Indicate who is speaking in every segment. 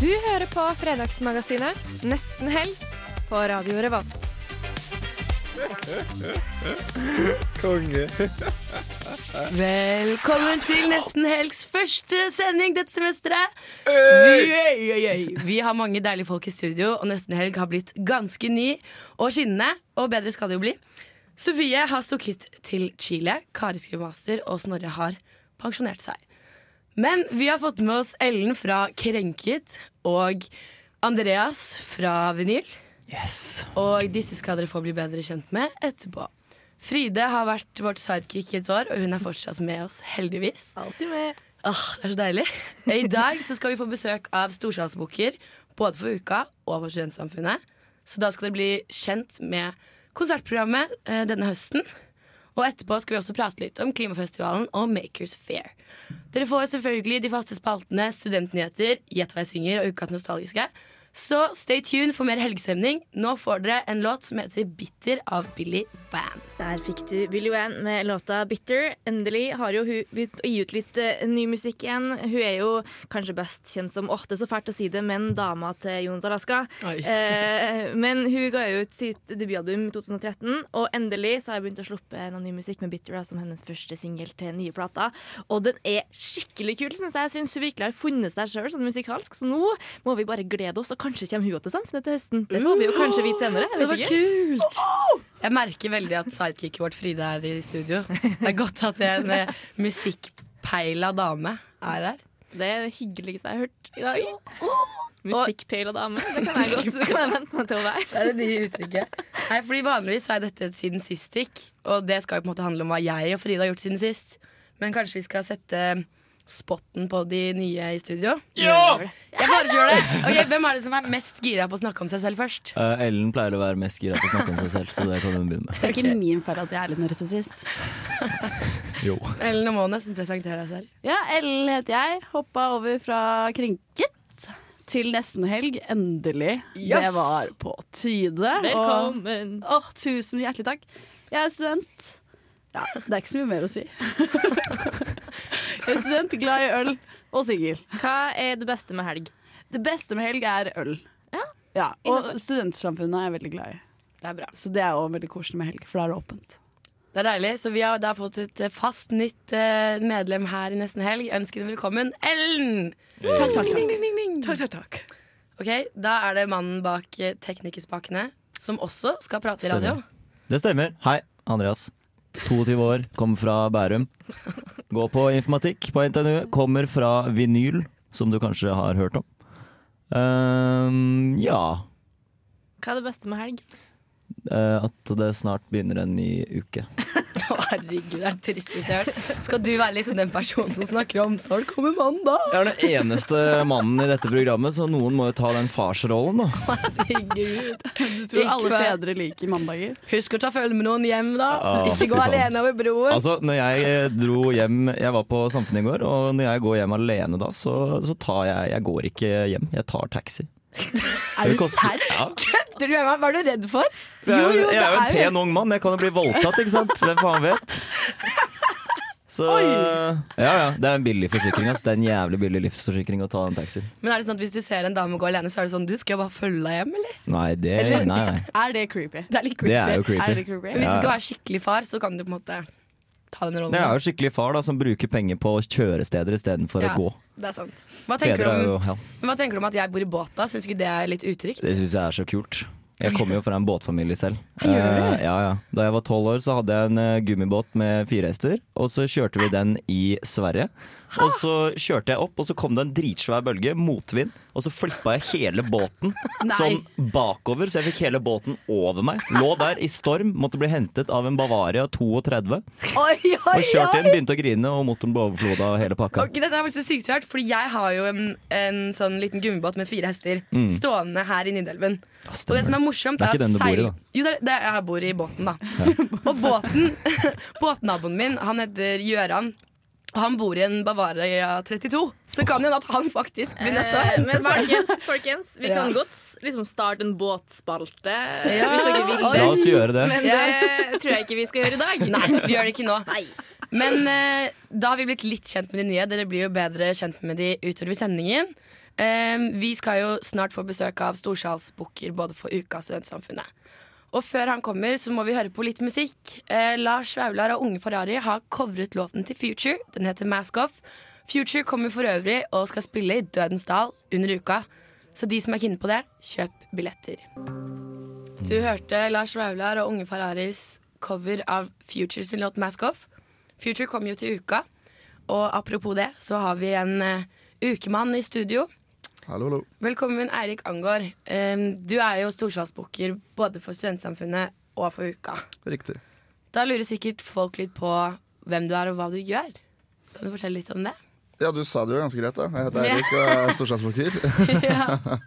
Speaker 1: Du hører på Fredagsmagasinet Nesten helg på Radio Revolt.
Speaker 2: Konge.
Speaker 3: Velkommen til nesten helgs første sending dette semesteret. Vi, øy, øy, øy. vi har mange deilige folk i studio, og nesten helg har blitt ganske ny og skinnende. Og bedre skal det jo bli. Sofie har stukket til Chile, Kari skriver master, og Snorre har pensjonert seg. Men vi har fått med oss Ellen fra Krenket og Andreas fra Vinyl. Og disse skal dere få bli bedre kjent med etterpå. Fride har vært vårt sidekick i et år, og hun er fortsatt med oss, heldigvis.
Speaker 1: Alltid med.
Speaker 3: Åh, Ah, Det er så deilig. I dag så skal vi få besøk av storsalsbukker, både for uka og for Studentsamfunnet. Så da skal dere bli kjent med konsertprogrammet eh, denne høsten. Og etterpå skal vi også prate litt om klimafestivalen og Makers Fair. Dere får selvfølgelig de faste spaltene Studentnyheter, Gjett hva jeg synger og Ukas nostalgiske. Så stay tuned for mer helgestemning. Nå får dere en låt som heter Bitter av Billy Van.
Speaker 4: Der fikk du Billy Van med låta 'Bitter'. Endelig har jo hun begynt å gi ut litt eh, ny musikk igjen. Hun er jo kanskje best kjent som åh, det er så fælt å si det, men dama til Jon Alaska.
Speaker 3: Oi.
Speaker 4: Eh, men hun ga jo ut sitt debutalbum i 2013, og endelig så har hun begynt å sluppe noe ny musikk med 'Bitter' da, som hennes første singel til nye plata. Og den er skikkelig kul, syns jeg. Jeg syns hun virkelig har funnet seg sjøl sånn musikalsk, så nå må vi bare glede oss, og kanskje kommer hun også til Samfunnet til høsten. Det får vi jo kanskje vite senere. Jeg
Speaker 3: Det
Speaker 4: vet
Speaker 3: var
Speaker 4: ikke.
Speaker 3: kult! Jeg merker veldig at sidekicket vårt Fride er i studio. Det er godt at en eh, musikkpeila dame er her.
Speaker 4: Det er det hyggeligste jeg har hørt i dag. Musikkpeila dame. Det kan jeg godt det kan jeg vente meg til å være.
Speaker 3: Det er det nye uttrykket. Nei, fordi Vanligvis er dette et siden sist-stikk, og det skal jo på en måte handle om hva jeg og Frida har gjort siden sist. Men kanskje vi skal sette eh, spotten på de nye i studio?
Speaker 5: Ja!
Speaker 3: Jeg foreslår det! Ok, Hvem er det som er mest gira på å snakke om seg selv først?
Speaker 6: Eh, Ellen pleier å være mest gira på å snakke om seg selv, så det kan hun begynne med.
Speaker 7: Det er ikke min feil at jeg er litt narsissist.
Speaker 2: Jo.
Speaker 3: Ellen og må nesten presentere deg selv.
Speaker 7: Ja, Ellen heter jeg. Hoppa over fra krenket til nesten helg. Endelig. Det
Speaker 3: Yes!
Speaker 7: var på tide. Og,
Speaker 4: Velkommen.
Speaker 7: Åh, tusen hjertelig takk. Jeg er student. Ja, det er ikke så mye mer å si. jeg er student, glad i øl og singel.
Speaker 4: Hva er det beste med helg?
Speaker 7: Det beste med helg er øl.
Speaker 4: Ja.
Speaker 7: Ja, og studentsamfunnet er jeg veldig glad i.
Speaker 3: Det er bra.
Speaker 7: Så det er også veldig koselig med helg, for da er det åpent.
Speaker 3: Det er deilig. Så vi har da fått et eh, fast nytt eh, medlem her i nesten helg. Ønsk henne velkommen, Ellen!
Speaker 7: Takk, takk, takk. Takk, takk, takk.
Speaker 3: Ok, Da er det mannen bak eh, teknikerspakene, som også skal prate i radio.
Speaker 6: Stemmer. Det stemmer. Hei, Andreas. 22 år, kommer fra Bærum. Går på informatikk på NTNU. Kommer fra vinyl, som du kanskje har hørt om. Ehm, ja.
Speaker 4: Hva er det beste med helg?
Speaker 6: Eh, at det snart begynner en ny uke.
Speaker 3: Å, herregud, det er det tristeste jeg har hørt. Skal du være liksom den personen som snakker om Snart kommer mandag?
Speaker 6: Jeg er den eneste mannen i dette programmet, så noen må jo ta den farsrollen, da.
Speaker 3: Herregud.
Speaker 7: Du tror alle
Speaker 3: Ikke-
Speaker 7: fedre liker mandager?
Speaker 3: Husk å ta følge med noen hjem, da.
Speaker 6: Å,
Speaker 3: Ikke
Speaker 6: fy
Speaker 3: gå
Speaker 6: faen.
Speaker 3: alene over broen.
Speaker 6: Altså, når jeg eh, dro hjem Jeg var på Samfunnet i går, og når jeg går hjem alene da, så, så tar jeg Jeg går ikke hjem, jeg tar taxi.
Speaker 7: Er
Speaker 6: Det
Speaker 7: du
Speaker 6: koster-
Speaker 7: serr?
Speaker 6: Ja.
Speaker 3: Kødder du med meg? Hva er du redd for?
Speaker 6: For jeg er jo,
Speaker 7: Jo, jo,
Speaker 6: jeg er jo
Speaker 7: det
Speaker 6: en
Speaker 7: er jo-
Speaker 6: pen ung mann, jeg kan jo bli voldtatt, ikke sant? Hvem faen vet? Så ja, ja. Det er en billig forsikring. Ass. Det er en jævlig billig livsforsikring å ta en taxi.
Speaker 3: Men er det sånn at Hvis du ser en dame gå alene, så er det sånn Du, skal jeg bare følge deg hjem, eller?
Speaker 6: Nei, det,
Speaker 3: Eller-
Speaker 6: nei, nei.
Speaker 7: Er det creepy?
Speaker 3: Det er litt creepy.
Speaker 6: det er jo
Speaker 7: Er det
Speaker 6: creepy.
Speaker 7: creepy?
Speaker 3: Men hvis
Speaker 6: Ja,
Speaker 3: du skal
Speaker 6: ja.
Speaker 3: være skikkelig far, så kan du på en måte ta den rollen.
Speaker 6: Jeg er jo skikkelig far da, som bruker penger på kjøresteder istedenfor
Speaker 3: Ja,
Speaker 6: å gå.
Speaker 3: Det er sant. Hva tenker,
Speaker 6: Fedre er
Speaker 3: du
Speaker 6: jo
Speaker 3: om,
Speaker 6: ja.
Speaker 3: men hva tenker du om at jeg bor i båt, da? Syns du ikke det er litt utrygt?
Speaker 6: Det syns jeg er så kult. Jeg kommer jo fra en båtfamilie selv. Eh, ja, ja. Da jeg var tolv år, så hadde jeg en eh, gummibåt med fire hester. Og så kjørte vi den i Sverige. Og så kjørte jeg opp, og så kom det en dritsvær bølge, motvind, og så flippa jeg hele båten
Speaker 7: Nei.
Speaker 6: sånn bakover, så jeg fikk hele båten over meg. Lå der i storm, måtte bli hentet av en Bavaria 32.
Speaker 7: Oi, oi,
Speaker 6: Og kjørt inn, begynte å grine, og motoren ble overfloda og hele pakka.
Speaker 3: Ok, dette er faktisk sykt svært, fordi jeg har jo en, en sånn liten gummibåt med fire hester stående her i Nidelven. og det som er morsomt,
Speaker 6: Mm. Det er ikke den du bor i,
Speaker 3: seil-
Speaker 6: da.
Speaker 3: Jo, det er, det er, jeg bor i båten, da. og båten, båtnaboen min, han heter Gjøran. Og han bor i en Bavaria 32, så det kan jo hende at han faktisk blir nødt til å
Speaker 4: Eh,
Speaker 3: hente meg.
Speaker 4: Men folkens, folkens vi kan
Speaker 3: Ja.
Speaker 4: godt liksom starte en båtspalte
Speaker 3: Ja.
Speaker 4: hvis dere vil
Speaker 6: La oss
Speaker 4: det.
Speaker 6: gjøre det.
Speaker 4: Men det tror jeg ikke vi skal gjøre i dag.
Speaker 3: Nei, vi gjør det ikke nå. Men eh, da har vi blitt litt kjent med de nye. Dere blir jo bedre kjent med de utover i sendingen. Em, vi skal jo snart få besøk av storsalsbukker både for Uka og Studentsamfunnet. Og før han kommer, så må vi høre på litt musikk. Eh, Lars Vaular og Unge Ferrari har covret låten til Future. Den heter Mask Off. Future kommer for øvrig og skal spille i Dødens Dal under uka. Så de som er keen på det, kjøp billetter. Du hørte Lars Vaular og Unge Ferraris cover av Future sin låt 'Mask Off'. Future kom jo til uka, og apropos det, så har vi en eh, ukemann i studio.
Speaker 2: Hallo, hallo.
Speaker 3: Velkommen, Eirik Angård. Em, du er jo storsalsbukker både for Studentsamfunnet og for uka.
Speaker 2: Riktig.
Speaker 3: Da lurer sikkert folk litt på hvem du er og hva du gjør. Kan du fortelle litt om det?
Speaker 8: Ja, du sa det jo ganske greit, da. Jeg heter Eirik og er storslagsbooker.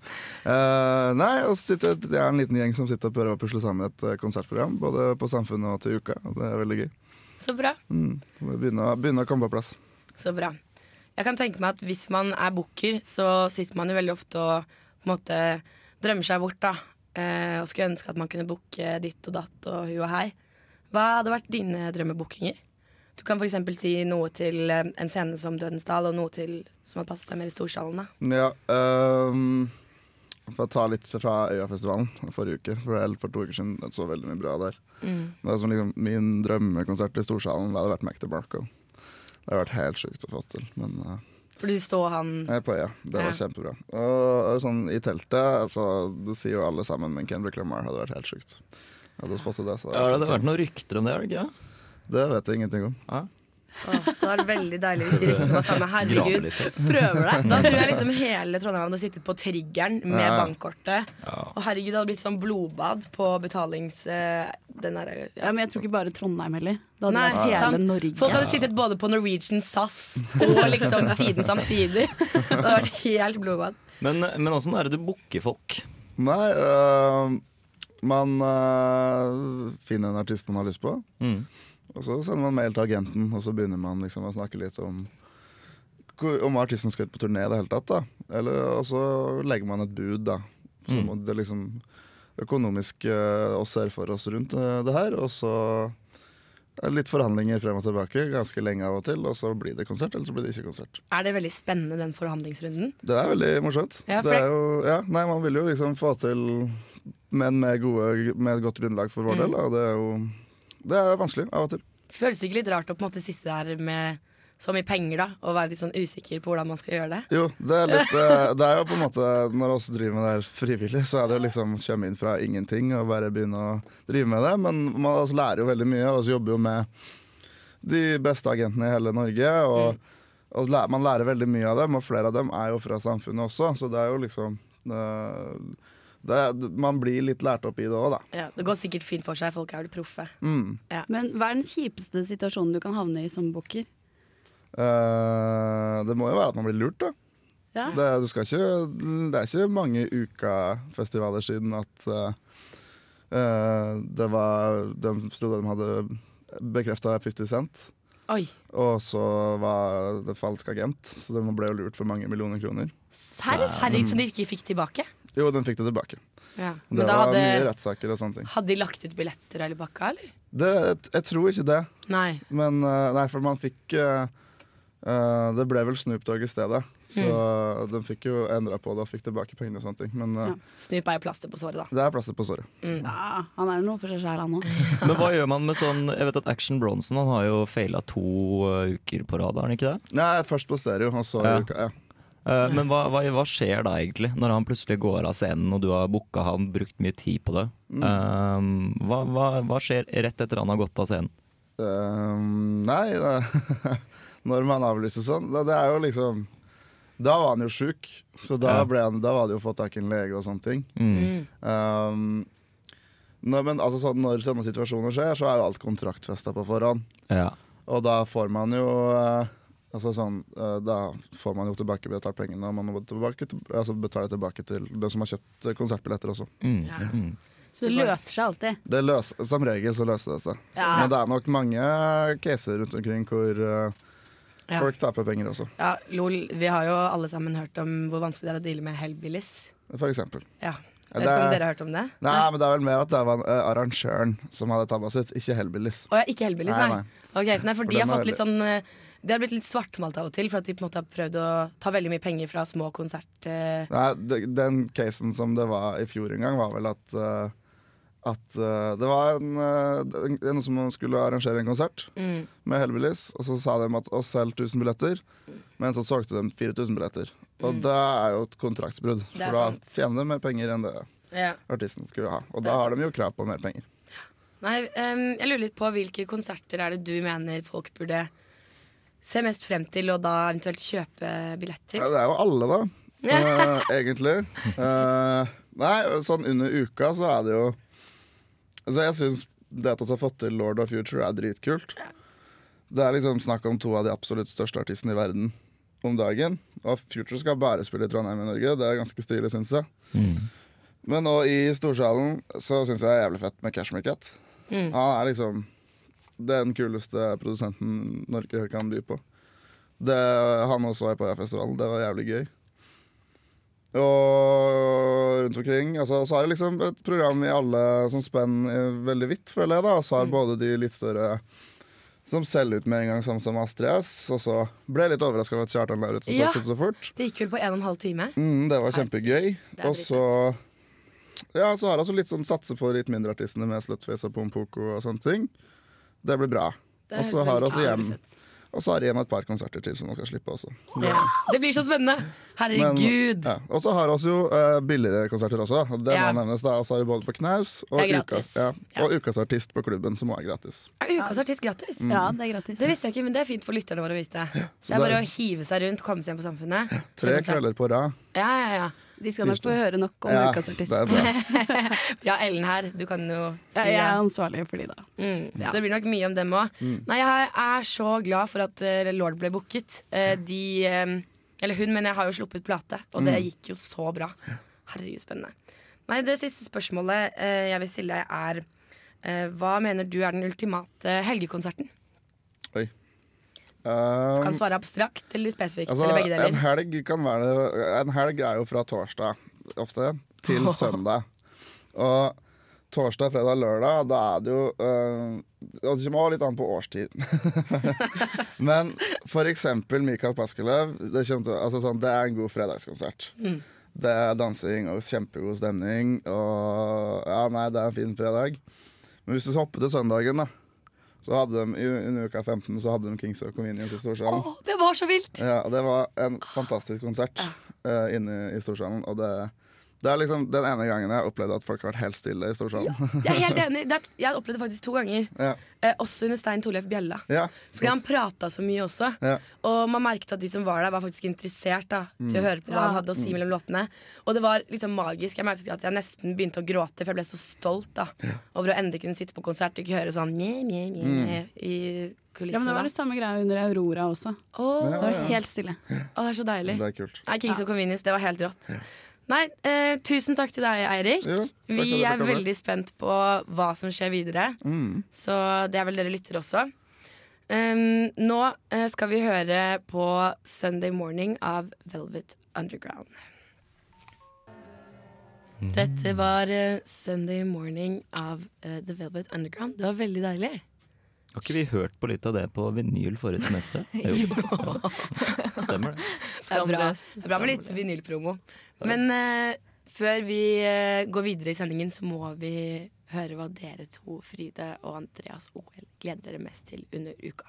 Speaker 8: Eh, nei, og så sitter, jeg er en liten gjeng som sitter og prøver å pusle sammen et eh, konsertprogram. Både på Samfunnet og til uka. og Det er veldig gøy.
Speaker 3: Så bra.
Speaker 8: Mm. så må vi Begynne, å- begynne å komme på plass.
Speaker 3: Så bra. Jeg kan tenke meg at hvis man er booker, så sitter man jo veldig ofte og på en måte drømmer seg bort, da. Eh, og skulle ønske at man kunne booke ditt og datt og hu og hei. Hva hadde vært dine drømmebookinger? Du kan f.eks. si noe til eh, en scene som Dødens dal, og noe til som hadde passet seg mer i Storsalen. da.
Speaker 8: Ja, ehm, for å ta litt fra Øyafestivalen forrige uke, for, eller for to uker siden. Jeg så veldig mye bra der. Det var sånn, liksom, min drømmekonsert i Storsalen det hadde vært Mac DeMarco. Det hadde vært helt sjukt å få til. Men eh,
Speaker 3: For du så han
Speaker 8: Jeg er på øya. Det var
Speaker 3: Ja.
Speaker 8: kjempebra. Og sånn i teltet altså, Det sier jo alle sammen, men Kendrick Lamar hadde vært helt sjukt. Hadde fått til det, så
Speaker 6: Ja, det hadde vært noen rykter om det, har det ikke? det?
Speaker 8: det vet jeg ingenting om.
Speaker 3: Åh, Det var veldig deilig hvis de ryktene var samme.
Speaker 6: Grave
Speaker 3: Herregud.
Speaker 6: litt.
Speaker 7: prøver det.
Speaker 3: Da tror jeg liksom hele Trondheim hadde sittet på triggeren med
Speaker 8: Ja.
Speaker 3: bankkortet. Og herregud, det hadde blitt sånn blodbad på betalings... eh, den der, ja.
Speaker 7: Ja, men jeg tror ikke bare Trondheim heller. Det hadde
Speaker 3: Nei,
Speaker 7: vært hele
Speaker 3: sant.
Speaker 7: Norge.
Speaker 3: Folk hadde sittet både på Norwegian, SAS og liksom siden samtidig. Det hadde vært helt blodbad.
Speaker 6: Men, men åssen er det du booker folk?
Speaker 8: Nei, øh, man øh, finner en artist man har lyst på,
Speaker 6: Mm.
Speaker 8: og så sender man mail til agenten, og så begynner man liksom å snakke litt om hvor- om artisten skal ut på turné i det hele tatt. da Eller, Og så legger man et bud, da. Så
Speaker 6: Mm.
Speaker 8: må det liksom økonomisk øh, oss ser for oss rundt øh, det her, og så er det Litt forhandlinger frem og tilbake, ganske lenge av og til, og så blir det konsert, eller så blir det ikke konsert.
Speaker 3: Er det veldig spennende, den forhandlingsrunden?
Speaker 8: Det er veldig morsomt.
Speaker 3: Ja, for
Speaker 8: det er jo, ja, nei, man vil jo liksom få til menn med, gode, med et godt grunnlag for
Speaker 3: Mm.
Speaker 8: vår del, og det er jo det er vanskelig av og til.
Speaker 3: Føles det ikke litt rart å på en måte sitte der med så mye penger da, og være litt sånn usikker på hvordan man skal gjøre det?
Speaker 8: Jo, det er litt eh, Det er jo på en måte Når vi driver med det her frivillig, så er det jo liksom komme inn fra ingenting og bare begynne å drive med det. Men man altså, lærer jo veldig mye, og vi jobber jo med de beste agentene i hele Norge.
Speaker 3: Mm.
Speaker 8: Og, og læ- man lærer veldig mye av dem, og flere av dem er jo fra samfunnet også, så det er jo liksom eh, det, er- Man blir litt lært opp i det òg, da.
Speaker 3: Ja, det går sikkert fint for seg, folk er vel proffe.
Speaker 8: Mm.
Speaker 7: Men hva er den kjipeste situasjonen du kan havne i som booker?
Speaker 8: Eh, det må jo være at man blir lurt, da.
Speaker 7: Ja.
Speaker 8: Det, du skal ikke, det er ikke mange ukafestivaler siden at eh, eh, det var De trodde de hadde bekrefta 50 Cent,
Speaker 3: Oi,
Speaker 8: og så var det falsk agent, så de ble jo lurt for mange millioner kroner.
Speaker 3: serr? Herregud, så de ikke fikk tilbake?
Speaker 8: Jo, de fikk det tilbake.
Speaker 3: Ja.
Speaker 8: Det
Speaker 3: Men da
Speaker 8: var mye
Speaker 3: hadde,
Speaker 8: rettssaker og sånne ting.
Speaker 3: hadde de lagt ut billetter eller bakka, eller?
Speaker 8: Det, jeg, jeg tror ikke det,
Speaker 3: Nei.
Speaker 8: men eh, Nei, for man fikk eh, eh, det ble vel Snoop Dogg i stedet, så de fikk jo endra på det og fikk tilbake pengene. og sånne ting Men eh,
Speaker 7: Ja.
Speaker 3: Snup er jo plaster på såret, da.
Speaker 8: det er plasset på såret.
Speaker 7: Ja, han er jo noe for seg sjæl, han òg.
Speaker 6: Men hva gjør man med sånn Jeg vet at Action Bronson han har jo faila to eh, uker på rad, har han ikke det?
Speaker 8: Nei, først på stereo, og så
Speaker 6: Ja.
Speaker 8: uka. Ja.
Speaker 6: Eh, Men hva, hva, hva skjer da egentlig, når han plutselig går av scenen og du har booka han, brukt mye tid på det? Eh, hva, hva, hva skjer rett etter han har gått av scenen?
Speaker 8: Ehm, nei, det, når man avlyser sånn. Da, det er jo liksom Da var han jo sjuk, så da,
Speaker 6: Ja.
Speaker 8: ble han, da var det jo å få tak i en lege og sånne ting.
Speaker 6: Mm.
Speaker 8: Um, når, men altså, sånn, når sånne situasjoner skjer, så er jo alt kontraktfesta på forhånd.
Speaker 6: Ja.
Speaker 8: Og da får man jo eh, Altså sånn, eh, Da får man jo tilbake betalt pengene, og man må tilbake, til- altså betale tilbake til den som har kjøpt eh, konsertbilletter også.
Speaker 6: Mm. Mm.
Speaker 7: Så det løser seg alltid.
Speaker 8: Det løs, som regel så løser det seg.
Speaker 7: Ja.
Speaker 8: Men det er nok mange caser rundt omkring hvor eh,
Speaker 3: Ja.
Speaker 8: folk taper penger også,
Speaker 3: Ja, lol, vi har jo alle sammen hørt om hvor vanskelig det er å deale med hellbillies.
Speaker 8: for eksempel.
Speaker 3: Ja.
Speaker 8: Ja,
Speaker 3: Jeg vet ikke om
Speaker 8: det-
Speaker 3: dere har hørt om det?
Speaker 8: Nei, men det er vel mer at det var eh, arrangøren som hadde tabba seg ut, ikke Hellbillies.
Speaker 3: Å ja, ikke hellbillies,
Speaker 8: Nei,
Speaker 3: nei. Ok, nei, for
Speaker 8: For
Speaker 3: de har
Speaker 8: dem er
Speaker 3: fått litt sånn eh, De har blitt litt svartmalt av og til, for at de på en måte har prøvd å ta veldig mye penger fra små konsert... eh,
Speaker 8: Nei, de- den casen som det var i fjor en gang, var vel at eh, at eh, det var en, eh, en- noen som skulle arrangere en konsert
Speaker 3: Mm.
Speaker 8: med Hellbillies, og så sa de at oss selger 1000 billetter, men så solgte de 4000 billetter. Og det er jo et kontraktsbrudd,
Speaker 3: Mm. Det er
Speaker 8: for da
Speaker 3: sant.
Speaker 8: tjener de mer penger enn det
Speaker 3: Ja.
Speaker 8: artisten skulle ha. Og
Speaker 3: Det
Speaker 8: da
Speaker 3: er
Speaker 8: har de jo krav på mer penger.
Speaker 3: Nei, ehm, jeg lurer litt på hvilke konserter er det du mener folk burde se mest frem til, og da eventuelt kjøpe billett til?
Speaker 8: Ja, det er jo alle, da. eh, egentlig. Eh, nei, sånn under uka så er det jo Altså Jeg syns det at vi har fått til Lord of Future, er dritkult. Det er liksom snakk om to av de absolutt største artistene i verden om dagen. Og Future skal bare spille i Trondheim i Norge. Det er ganske stilig, syns jeg.
Speaker 6: Mm.
Speaker 8: Men nå i storsalen så syns jeg det er jævlig fett med Cashmere Cat.
Speaker 3: Mm.
Speaker 8: Han er liksom den kuleste produsenten Norge kan by på. Det, han også var på Øya-festivalen. Det var jævlig gøy. Og rundt omkring. Altså, så har jeg liksom et program i alle som spenner eh, veldig vidt, føler jeg. da Og så
Speaker 3: Mm.
Speaker 8: har både de litt større som selger ut med en gang, sånn som Astrid S. Og så ble jeg litt overraska over at Kjartan Lauritzen
Speaker 3: Ja.
Speaker 8: solgte ut så fort.
Speaker 3: Det gikk vel på en og en halv time?
Speaker 8: Mm, det var kjempegøy.
Speaker 3: er
Speaker 8: Og så ja, så har jeg altså litt sånn satse på litt mindre artistene med Slutface og Pompoko og sånne ting. Det blir bra.
Speaker 3: Det
Speaker 8: Og så
Speaker 3: høres
Speaker 8: har
Speaker 3: veldig bra
Speaker 8: altså hjem-
Speaker 3: ut.
Speaker 8: Og så har jeg igjen et par konserter til som man skal slippe også.
Speaker 3: Ja. Det blir så spennende!
Speaker 8: Men-
Speaker 3: Herregud!
Speaker 8: Ja. Og så har vi jo eh, billigere konserter også. da. Det
Speaker 3: Ja.
Speaker 8: må nevnes da Og så har vi både på Knaus og,
Speaker 3: Det er gratis.
Speaker 8: ukas, ja, og Ukas artist på klubben, som også er gratis.
Speaker 3: Er ukas artist gratis?
Speaker 7: Ja, det er gratis.
Speaker 3: Det visste jeg ikke, men det er fint for lytterne våre å vite. Mm. Så det er bare å hive seg rundt, komme seg hjem på Samfunnet.
Speaker 8: Tre
Speaker 3: Konsert.
Speaker 8: kvelder på rad.
Speaker 3: Ja, ja, ja.
Speaker 7: De skal nok få høre nok om
Speaker 8: Ja,
Speaker 7: ukas
Speaker 8: det
Speaker 7: artist.
Speaker 8: er bra.
Speaker 3: Ja, Ellen her, du kan jo si
Speaker 7: Ja, jeg
Speaker 3: det.
Speaker 7: er ansvarlig for de, da.
Speaker 3: Mm. Så det blir nok mye om dem òg. Nei, jeg er så glad for at eh, Lord ble booket. Eh, de eh, Eller hun, men jeg har jo sluppet plate, og det gikk jo så bra. Herregud, spennende. Nei, det siste spørsmålet eh, jeg vil stille deg, er eh, Hva mener du er den ultimate helgekonserten?
Speaker 8: Oi.
Speaker 3: Du
Speaker 8: Um,
Speaker 3: kan svare abstrakt eller spesifikt,
Speaker 8: altså,
Speaker 3: eller begge
Speaker 8: en
Speaker 3: deler.
Speaker 8: helg kan være En helg er jo fra torsdag ofte til søndag. Og torsdag, fredag, lørdag, da er det jo eh, Det kommer også litt an på årstid. Men for eksempel Mikael Paskelev. Det, kommer til, altså sånn, det er en god fredagskonsert.
Speaker 3: Mm.
Speaker 8: Det er dansing og kjempegod stemning. Og ja, nei, det er en fin fredag. Men hvis du hopper til søndagen, da. Så hadde de, i, Under uka 15 så hadde de Kings of Convenience i Storsalen.
Speaker 3: Å, det var så vilt!
Speaker 8: Ja, og det var en fantastisk konsert eh, inne i Storsalen. Og det, det er liksom den ene gangen jeg har opplevd at folk har vært helt stille i Storsalen.
Speaker 3: Jeg er helt enig. Det er, jeg opplevde det faktisk to ganger.
Speaker 8: Ja.
Speaker 3: Eh, også under Stein Torleif Bjella.
Speaker 8: Ja.
Speaker 3: Fordi han prata så mye også.
Speaker 8: Ja.
Speaker 3: Og man merket at de som var der, var faktisk interessert da, til
Speaker 8: Mm.
Speaker 3: å høre på hva han hadde å si mellom låtene. Og det var liksom magisk. Jeg merket at jeg nesten begynte å gråte, for jeg ble så stolt da over å endelig kunne sitte på konsert og ikke høre sånn mje, mje, mje,
Speaker 8: Mm.
Speaker 3: mje i
Speaker 7: Ja, men
Speaker 3: kulissene.
Speaker 7: det var
Speaker 3: da.
Speaker 7: det samme greia under Aurora også.
Speaker 3: Åh,
Speaker 7: Det var helt stille.
Speaker 3: å, det er så deilig.
Speaker 8: Det er kult.
Speaker 3: Nei, Kings of Convenience, det var helt rått. Nei, eh, tusen takk til deg, Eirik.
Speaker 8: Jo, takk for at
Speaker 3: Vi
Speaker 8: dere
Speaker 3: er
Speaker 8: kom.
Speaker 3: veldig spent på hva som skjer videre.
Speaker 8: Mm.
Speaker 3: Så det er vel dere lytter også. Um, nå eh, skal vi høre på Sunday Morning av Velvet Underground. Dette var eh, Sunday Morning av eh, The Velvet Underground. Det var veldig deilig.
Speaker 6: Har ikke vi hørt på litt av det på vinyl forrige semester? Jo. Ja. Stemmer det.
Speaker 3: Det er bra, det er bra med litt vinylpromo. Men eh, før vi eh, går videre i sendingen, så må vi høre hva dere to, Fride og Andreas OL, gleder dere mest til under uka.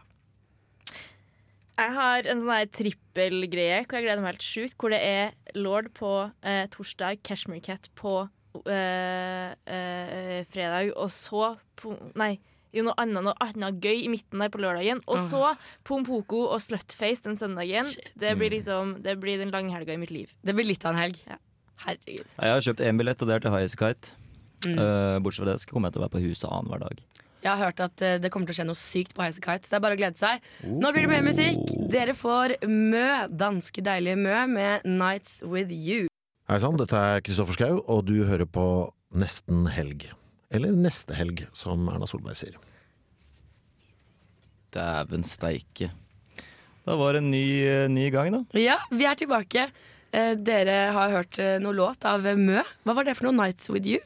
Speaker 4: Jeg har en sånn her trippelgreie hvor jeg gleder meg helt sjukt. Hvor det er Lord på eh, torsdag, Cashmere Cat på eh, eh, fredag, og så på, Nei, i noe annet, noe annet gøy i midten der på lørdagen. Og så Pompoko og Slutface den søndagen. Det blir liksom Det blir den lange helga i mitt liv.
Speaker 3: Det blir litt av en helg.
Speaker 4: Ja.
Speaker 3: Herregud.
Speaker 6: Nei, Jeg har kjøpt én billett, og det er til Highest Kite. Eh, bortsett fra det så kommer jeg til å være på huset annenhver dag.
Speaker 3: Jeg har hørt at eh, det kommer til å skje noe sykt på Highasakite, så det er bare å glede seg. Nå blir det mer musikk. Dere får Mø, danske deilige Mø, med Nights With You.
Speaker 9: Hei sann, dette er Kristoffer Schau, og du hører på Nesten helg. Eller Neste helg, som Erna Solberg sier.
Speaker 6: Dæven steike. Da var det en ny, eh, ny gang, da.
Speaker 3: Ja, vi er tilbake. Eh, Dere har hørt eh, noe låt av Mø. Hva var det for noe? Nights With You?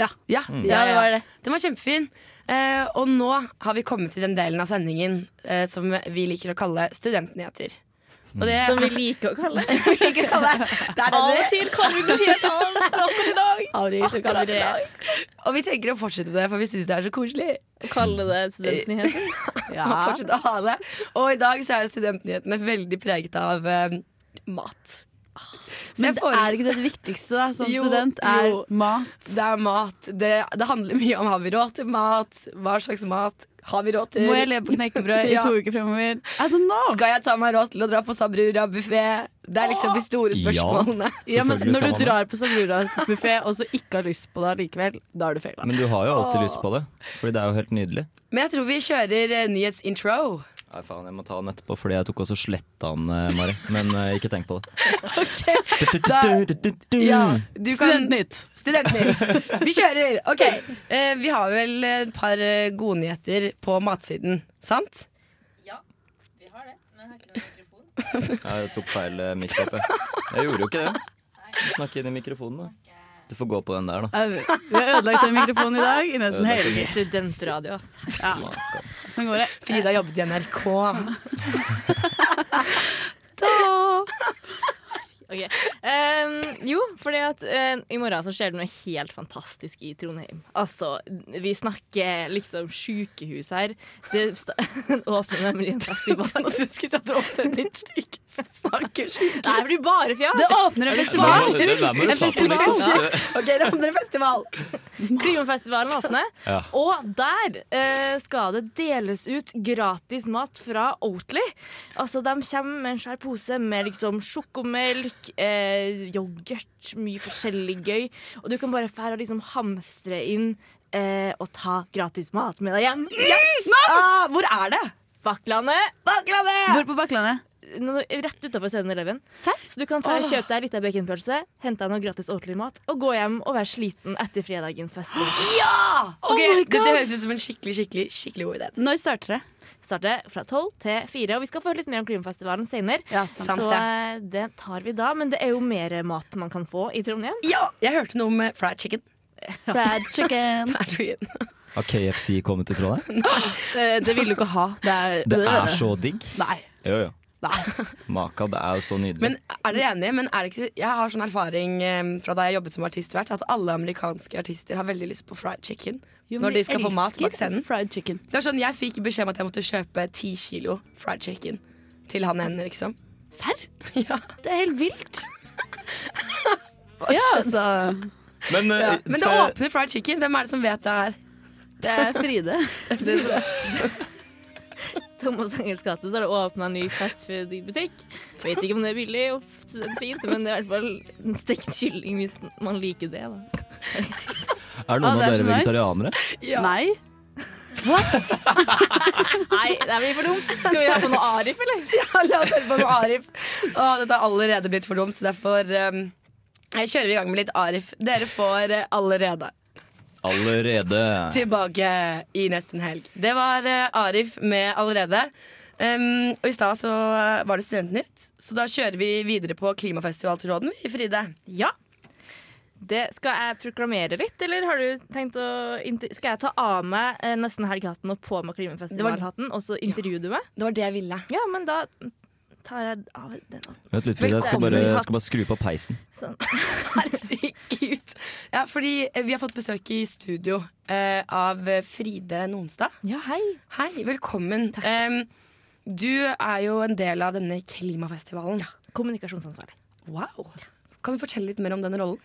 Speaker 7: Ja. Mm.
Speaker 3: Ja,
Speaker 7: Ja, det var det.
Speaker 3: Den var kjempefin. Eh, og nå har vi kommet til den delen av sendingen eh, som vi liker å kalle studentnyheter. Og
Speaker 7: Mm.
Speaker 3: det,
Speaker 4: Som vi liker å kalle det.
Speaker 3: vi liker å kalle det er det
Speaker 4: Av
Speaker 3: det
Speaker 4: og til kan vi bli helt annerledes i dag.
Speaker 3: Avringer, så kaller vi
Speaker 4: Akkurat i
Speaker 3: det. Og vi tenker å fortsette med det, for vi syns det er så koselig.
Speaker 4: Å kalle det studentnyheter.
Speaker 3: Ja. Og, fortsette å ha det. og i dag så er studentnyhetene veldig preget av eh, mat. Så
Speaker 7: Men
Speaker 3: jeg
Speaker 7: det
Speaker 3: foreslår-
Speaker 7: er ikke det viktigste da, som
Speaker 3: Jo,
Speaker 7: student, er
Speaker 3: jo.
Speaker 7: mat.
Speaker 3: det er mat. Det, det handler mye om har vi råd til mat, hva slags mat har vi råd til.
Speaker 7: Må jeg leve på knekkebrød i
Speaker 3: Ja.
Speaker 7: to uker fremover? I don't know.
Speaker 3: Skal jeg ta meg råd til å dra på Sabrura buffé? Det er liksom de store
Speaker 6: Ja.
Speaker 3: spørsmålene.
Speaker 7: Ja, men
Speaker 6: Selvfølgelig
Speaker 7: når
Speaker 6: skal
Speaker 7: du
Speaker 6: man det.
Speaker 7: drar på Sabrura-buffé og så ikke har lyst på det likevel, da har du feila.
Speaker 6: Men du har jo alltid lyst på det, Fordi det er jo helt nydelig.
Speaker 3: Men jeg tror vi kjører eh, nyhetsintro.
Speaker 6: Nei, faen, jeg må ta den etterpå, fordi jeg tok også sletta den, eh, Mari. Men eh, ikke tenk på det.
Speaker 3: Ja, du kan
Speaker 7: Studentnytt.
Speaker 3: Studentnytt. Vi kjører. OK. Eh, vi har vel et par eh, gode nyheter på matsiden, sant?
Speaker 4: Vi har det, men jeg har ikke noen mikrofon.
Speaker 6: Jeg tok feil eh, mic opp, jeg. Jeg gjorde jo ikke det. Snakk inn i mikrofonen, da. Du får gå på den der, da.
Speaker 7: Au. Vi har ødelagt den mikrofonen i dag i nesten helg.
Speaker 4: Studentradio, altså.
Speaker 7: Ja. Sånn går det.
Speaker 3: Frida jobbet i NRK.
Speaker 4: Ok. Ehm, jo, fordi at eh, i morgen så skjer det noe helt fantastisk i Trondheim. Altså, vi snakker liksom sjukehus her. Det sta- åpner nemlig en festival.
Speaker 3: Jeg trodde du skulle si at du åpnet et nytt stykke som snakker sykehus.
Speaker 4: Nei, det blir bare fjas!
Speaker 7: Det åpner en festival! En festival.
Speaker 3: OK, det andre festival.
Speaker 4: Klimafestivalen åpner.
Speaker 6: Ja.
Speaker 4: Og der eh, skal det deles ut gratis mat fra Oatly. Altså, de kommer med en svær pose med liksom sjokomelk, eh, yoghurt, mye forskjellig gøy. Og du kan bare fære og liksom hamstre inn eh, og ta gratis mat med deg hjem. Yes!
Speaker 3: Ah, hvor er det?
Speaker 4: Bakklandet.
Speaker 7: Hvor på Bakklandet?
Speaker 4: Nå- Rett utafor 7-Eleven. Så du kan fære og kjøpe deg en liten baconpølse, hente deg noe gratis Oatly-mat og gå hjem og være sliten etter fredagens fest.
Speaker 3: Ok, Dette høres ut som en skikkelig skikkelig, skikkelig god idé.
Speaker 7: Når starter det?
Speaker 4: starter fra 12 til 4. Og vi skal få høre litt mer om klimafestivalen senere.
Speaker 7: Ja,
Speaker 3: sant
Speaker 4: så
Speaker 3: det.
Speaker 4: eh, det tar vi da. Men det er jo mer mat man kan få i Trondheim.
Speaker 3: Ja, Jeg hørte noe om eh, fried chicken.
Speaker 7: Fried chicken.
Speaker 3: Fried chicken.
Speaker 6: Har KFC kommet til Trondheim?
Speaker 7: Eh, Det vil du ikke ha. Det er,
Speaker 6: Det er så digg.
Speaker 7: Nei.
Speaker 6: Jo, jo.
Speaker 7: Nei.
Speaker 6: Maka, det er jo så nydelig.
Speaker 3: Men er dere enige? Men er det ikke, jeg har sånn erfaring eh, fra da jeg jobbet som artistvert, at alle amerikanske artister har veldig lyst på fried chicken når de skal få mat bak scenen.
Speaker 7: Fried chicken.
Speaker 3: Det var sånn, Jeg fikk beskjed om at jeg måtte kjøpe ti kilo fried chicken til han ene, liksom.
Speaker 7: Serr?
Speaker 3: Ja.
Speaker 7: Det er helt vilt. Ja, altså.
Speaker 6: Men, eh,
Speaker 3: Ja. Men det
Speaker 6: skal jeg-
Speaker 3: åpner fried chicken. Hvem er det som vet det her?
Speaker 7: Det er Fride.
Speaker 4: Thomas Engels gate så har det åpna ny fastfood-butikk. Vet ikke om det er billig og f- fint, men det er i hvert fall en stekt kylling hvis man liker det. da
Speaker 6: Er det
Speaker 7: Å,
Speaker 6: noen
Speaker 7: det er
Speaker 6: av dere
Speaker 7: så nice.
Speaker 6: vegetarianere?
Speaker 7: Nei.
Speaker 4: Nei, det blir for dumt. Skal vi ha på noe Arif, eller?
Speaker 3: Ja, la oss høre på med Arif. Å, dette har allerede blitt for dumt, så derfor um, jeg kjører vi i gang med litt Arif. Dere får eh, allerede
Speaker 6: Allerede.
Speaker 3: tilbake i nesten helg. Det var eh, Arif med allerede. Um, og i stad så eh, var det Studentnytt, så da kjører vi videre på klimafestivaltråden, vi, Fride.
Speaker 4: Ja. Det skal jeg proklamere litt, eller har du tenkt å inter- Skal jeg ta av meg eh, nesten helgehatten og på meg klimafestivalhatten, og så intervjue du meg?
Speaker 3: Det var det jeg ville.
Speaker 4: Ja, men da tar jeg av den.
Speaker 6: Vent litt, Frida. Jeg skal bare, jeg skal bare skru på peisen.
Speaker 4: Sånn.
Speaker 3: Herregud. Ja, fordi eh, vi har fått besøk i studio eh, av eh, Fride Nonstad.
Speaker 4: Ja, hei.
Speaker 3: Hei, velkommen. Em, du er jo en del av denne klimafestivalen.
Speaker 4: Kommunikasjonsansvarlig.
Speaker 3: Wow. Kan du fortelle litt mer om den rollen?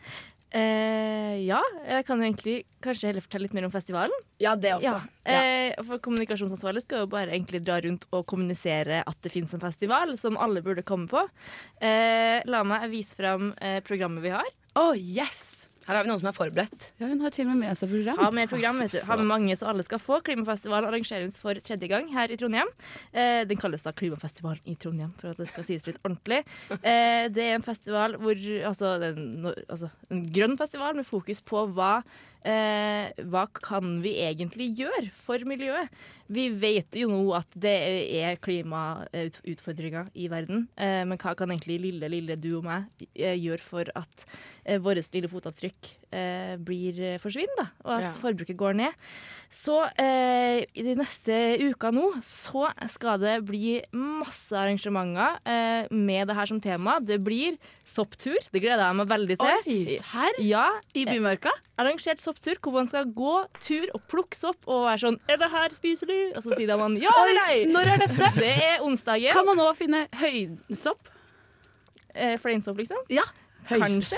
Speaker 4: Eh, ja, jeg kan egentlig kanskje heller fortelle litt mer om festivalen.
Speaker 3: Ja, det også.
Speaker 4: Eh, for Kommunikasjonsansvarlig skal jo bare egentlig dra rundt og kommunisere at det fins en festival som alle burde komme på. Eh, la meg vise fram eh, programmet vi har.
Speaker 3: Å, yes! Her har vi noen som er forberedt.
Speaker 7: Ja, Hun har til og med med seg program.
Speaker 4: Har med program, vet du. Har med mange så alle skal få. Klimafestivalen arrangeres for tredje gang her i Trondheim. Eh, den kalles da Klimafestivalen i Trondheim, for at det skal sies litt ordentlig. Eh, det er en festival hvor Altså, det er en, no- altså, en grønn festival med fokus på hva eh, hva kan vi egentlig gjøre for miljøet? Vi vet jo nå at det er klimautfordringer i verden, eh, men hva kan egentlig lille, lille du og meg eh, gjøre for at eh, vårt lille fotavtrykk eh, blir eh, forsvinner, da, og at
Speaker 3: Ja.
Speaker 4: forbruket går ned? Så eh, i de neste uka nå så skal det bli masse arrangementer eh, med det her som tema. Det blir sopptur. Det gleder jeg meg veldig til.
Speaker 7: Oi, her?
Speaker 4: Ja.
Speaker 7: I bymørka?
Speaker 4: Arrangert sopptur hvor man skal gå tur og plukke sopp og være sånn Er det her spiselig? Og så sier man ja
Speaker 7: Oi,
Speaker 4: eller nei.
Speaker 7: når er dette?
Speaker 4: Det er onsdagen.
Speaker 7: Kan man nå finne høydesopp?
Speaker 4: Eh, Fleinsopp, liksom?
Speaker 7: Ja.
Speaker 4: Kanskje.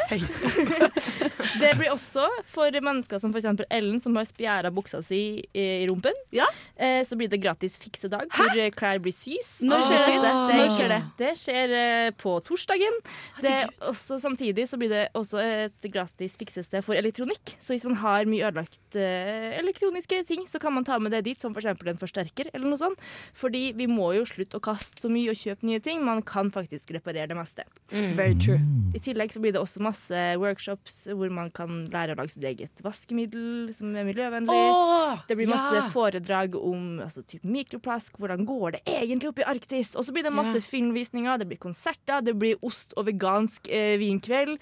Speaker 4: det blir også for mennesker som f.eks. Ellen, som har spjæra buksa si i, i rumpen. Eh, så blir det gratis fiksedag, hvor eh, klær blir sys.
Speaker 7: Når skjer det? Når skjer det?
Speaker 4: Det skjer eh, på torsdagen. Det er også, samtidig så blir det også et gratis fiksested for elektronikk. Så hvis man har mye ødelagt eh, elektroniske ting, så kan man ta med det dit, som f.eks. en forsterker eller noe sånt. Fordi vi må jo slutte å kaste så mye og kjøpe nye ting. Man kan faktisk reparere det meste.
Speaker 7: Very true.
Speaker 4: I tillegg så blir det også masse workshops hvor man kan lære å lage sitt eget vaskemiddel som er miljøvennlig.
Speaker 3: Åh,
Speaker 4: det blir masse
Speaker 3: ja.
Speaker 4: foredrag om altså, typ mikroplask, hvordan går det egentlig opp i Arktis? Og så blir det masse
Speaker 3: Ja.
Speaker 4: filmvisninger, det blir konserter, det blir ost og vegansk eh, vinkveld.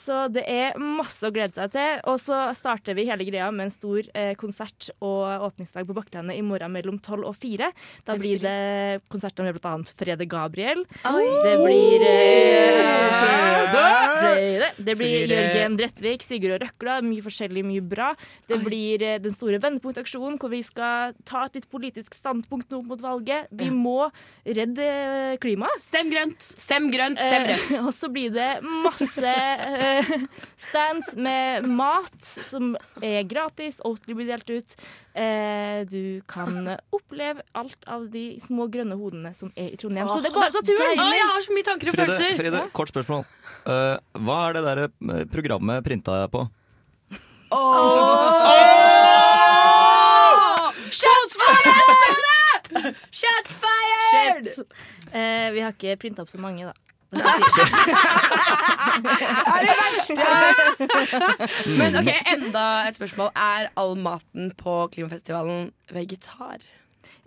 Speaker 4: Så det er masse å glede seg til. Og så starter vi hele greia med en stor eh, konsert og åpningsdag på Bakklandet i morgen mellom tolv og fire. Da blir det konserter med bl.a. Frede Gabriel. Det blir eh, Frede! Frede. Det blir
Speaker 3: Frede.
Speaker 4: Jørgen Bredtvik, Sigurd og Røkla. Mye forskjellig, mye bra. Det blir eh, den store vendepunktaksjonen, hvor vi skal ta et litt politisk standpunkt nå mot valget. Vi må redde eh, klimaet.
Speaker 7: Stem grønt!
Speaker 3: Stem grønt, stem
Speaker 4: Eh,
Speaker 3: rødt.
Speaker 4: og så blir det masse eh, stands med mat som er gratis. Oatly blir delt ut. Eh, du kan oppleve alt av de små grønne hodene som er i Trondheim. så det er bare å ta turen!
Speaker 3: Å, Ah, jeg har så mye tanker og
Speaker 6: Fride,
Speaker 3: følelser.
Speaker 6: Fride, kort spørsmål. Eh, hva er det der eh, programmet printa jeg på?
Speaker 3: Shots fired! Shots fired!
Speaker 4: Shit. Eh, vi har ikke printa opp så mange, da.
Speaker 3: er det verste! Men ok, enda et spørsmål. Er all maten på klimafestivalen vegetar?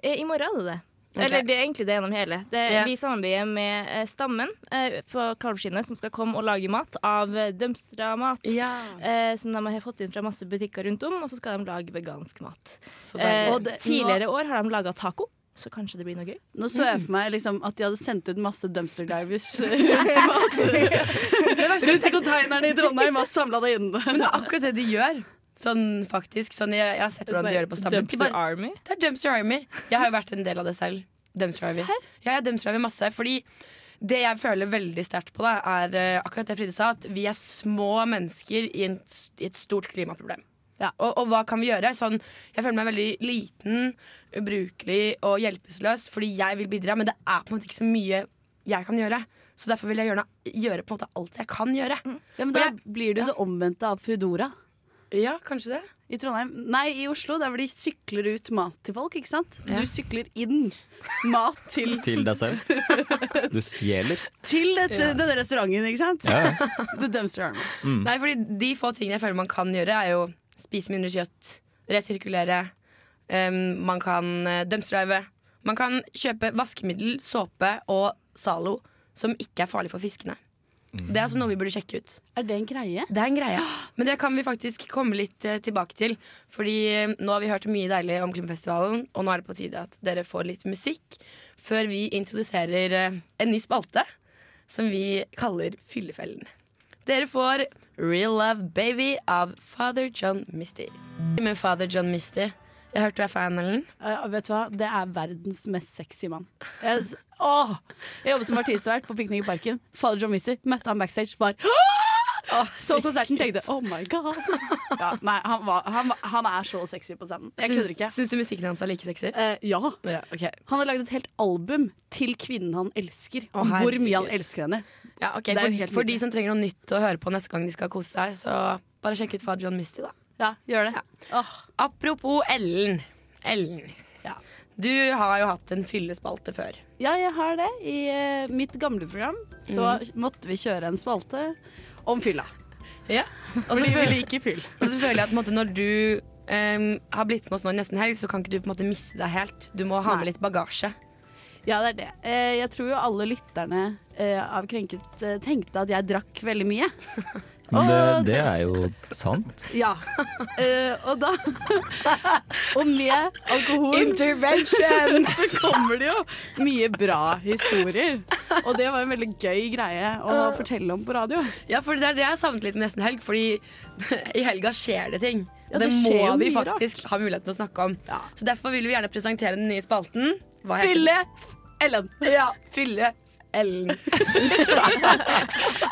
Speaker 4: Eh, I morgen er det det.
Speaker 3: Ok.
Speaker 4: Eller det er egentlig det gjennom hele. Det,
Speaker 3: Ja.
Speaker 4: Vi samarbeider med eh, Stammen eh, på Kalvskinnet, som skal komme og lage mat av eh, dømstra mat. Eh, som de har fått inn fra masse butikker rundt om, og så skal de lage vegansk mat.
Speaker 3: Så
Speaker 4: Eh,
Speaker 7: Og det-
Speaker 4: tidligere
Speaker 7: nå-
Speaker 4: år har de laga taco, så kanskje det blir noe gøy.
Speaker 7: Nå så jeg for meg liksom, at de hadde sendt ut masse dumpster divers eh, rundt i mat. Rundt i konteinerne i Trondheim og samla det inn.
Speaker 3: Men det er akkurat det de gjør. Sånn faktisk, sånn, jeg, jeg har sett hvordan de gjør det på stammen. De
Speaker 4: Dumpster
Speaker 3: bare,
Speaker 4: Army.
Speaker 3: det er Dumpster Army. Jeg har jo vært en del av det selv. Dumpster Army. Ja, jeg er Dumpster Army masse. Fordi det jeg føler veldig sterkt på, da, er eh, akkurat det Fride sa, at vi er små mennesker i, en, s- i et stort klimaproblem. Og, og hva kan vi gjøre? Sånn, jeg føler meg veldig liten, ubrukelig og hjelpeløs fordi jeg vil bidra, men det er på en måte ikke så mye jeg kan gjøre. Så derfor vil jeg gjøre, gjøre på en måte alt jeg kan gjøre.
Speaker 7: Ja, men da blir du det omvendte av Foodora.
Speaker 3: Ja, kanskje det.
Speaker 7: I Trondheim? Nei, i Oslo. Der hvor de sykler ut mat til folk, ikke sant?
Speaker 3: Ja.
Speaker 7: Du sykler inn mat til,
Speaker 6: Til deg selv? Du stjeler?
Speaker 7: til dette,
Speaker 3: Ja.
Speaker 7: denne restauranten, ikke sant?
Speaker 6: Ja,
Speaker 7: The Dumpster Army.
Speaker 6: Mm.
Speaker 3: Nei, fordi de få tingene jeg føler man kan gjøre, er jo spise mindre kjøtt, resirkulere, em, man kan eh, dumpstrive. Man kan kjøpe vaskemiddel, såpe og Zalo som ikke er farlig for fiskene. Det er altså noe vi burde sjekke ut.
Speaker 7: Er det en greie?
Speaker 3: Det er en greie. Men det kan vi faktisk komme litt eh, tilbake til. Fordi eh, nå har vi hørt mye deilig om Klimafestivalen, og nå er det på tide at dere får litt musikk før vi introduserer eh, en ny spalte som vi kaller Fyllefellen. Dere får Real Love Baby av Father John Misty. Men Father John Misty, jeg hørte du er fan, Ellen.
Speaker 7: Eh, vet du hva? Det er verdens mest sexy mann. Jeg, s- åh! jeg jobbet som artistvert på Piknik i parken. Fader John Misser møtte han backstage. Var Så konserten tenkte oh my god. Ja, nei, han, var, han, var- han er så sexy på scenen. Jeg
Speaker 3: Syns-
Speaker 7: kødder ikke.
Speaker 3: Syns du musikken hans er like sexy?
Speaker 7: Eh, ja.
Speaker 3: ok.
Speaker 7: Han har lagd et helt album til kvinnen han elsker. Om hvor mye han elsker henne.
Speaker 3: Ja, ok,
Speaker 7: Det er jo
Speaker 3: for,
Speaker 7: helt
Speaker 3: for de
Speaker 7: nydelig.
Speaker 3: som trenger noe nytt å høre på neste gang de skal kose seg, så bare sjekk ut Far John Misty, da.
Speaker 7: Ja, gjør det.
Speaker 3: Apropos Ellen. Ellen. Du har jo hatt en fyllespalte før.
Speaker 7: Ja, jeg har det. I eh, mitt gamle program så måtte vi kjøre en spalte om fylla.
Speaker 3: Ja.
Speaker 7: Fordi vi liker fyll.
Speaker 3: Og så føler jeg at på en måte, når du em, har blitt med oss nå i nesten helg, så kan ikke du på en måte miste deg helt. Du må ha med litt bagasje.
Speaker 7: Ja, det er det. Eh, Jeg tror jo alle lytterne eh, av Krenket eh, tenkte at jeg drakk veldig mye.
Speaker 6: Men det, det er jo sant.
Speaker 7: Ja. Eh, og da Og med alkohol
Speaker 3: Intervention!
Speaker 7: Så kommer det jo mye bra historier. Og det var en veldig gøy greie å fortelle om på radio.
Speaker 3: Ja, for det er det jeg har savnet litt med nesten helg, fordi i helga skjer det ting.
Speaker 7: Ja,
Speaker 3: Og det,
Speaker 7: det skjer jo
Speaker 3: må vi
Speaker 7: mye rart.
Speaker 3: faktisk ha muligheten til å snakke om. Så derfor vil vi gjerne presentere den nye spalten. Hva heter
Speaker 7: Fylle Ellen.
Speaker 3: den? Ja, Fylle Ellen.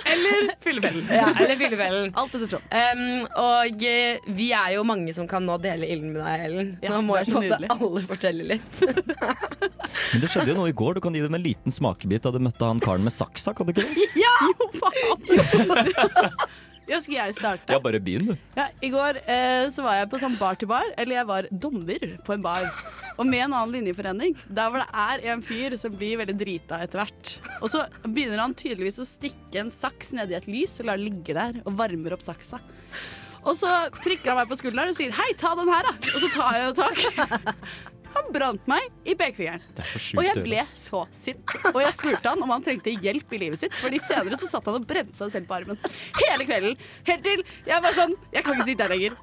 Speaker 7: Eller Fyllefellen.
Speaker 3: Ja, eller Fyllefellen.
Speaker 7: Alt etter sånn.
Speaker 3: Um, og eh, vi er jo mange som kan nå dele ilden med deg, Ellen.
Speaker 7: Ja,
Speaker 3: nå må
Speaker 7: det er
Speaker 3: jeg på en
Speaker 7: så
Speaker 3: måte alle fortelle litt.
Speaker 6: Men det skjedde jo noe i går. Du kan gi dem en liten smakebit da du møtte han karen med saksa, kan du ikke det?
Speaker 7: Ja! Jo, faen! Ja, skal jeg starte?
Speaker 6: Ja, bare begynn, du.
Speaker 7: Ja, I går eh, så var jeg på sånn bar til bar, eller jeg var dommer på en bar. Og med en annen linjeforening, der hvor det er en fyr som blir veldig drita etter hvert. Og så begynner han tydeligvis å stikke en saks nedi et lys og lar det ligge der, og varmer opp saksa. Og så prikker han meg på skulderen og sier 'hei, ta den her', da. Og så tar jeg jo tak. Han brant meg i pekefingeren.
Speaker 6: Det er så
Speaker 7: Og
Speaker 6: sjukt.
Speaker 7: jeg ble så sint. Og jeg spurte han om han trengte hjelp i livet sitt, Fordi senere så satt han og brente seg selv på armen. Hele kvelden. Helt til jeg var sånn Jeg kan ikke sitte her lenger.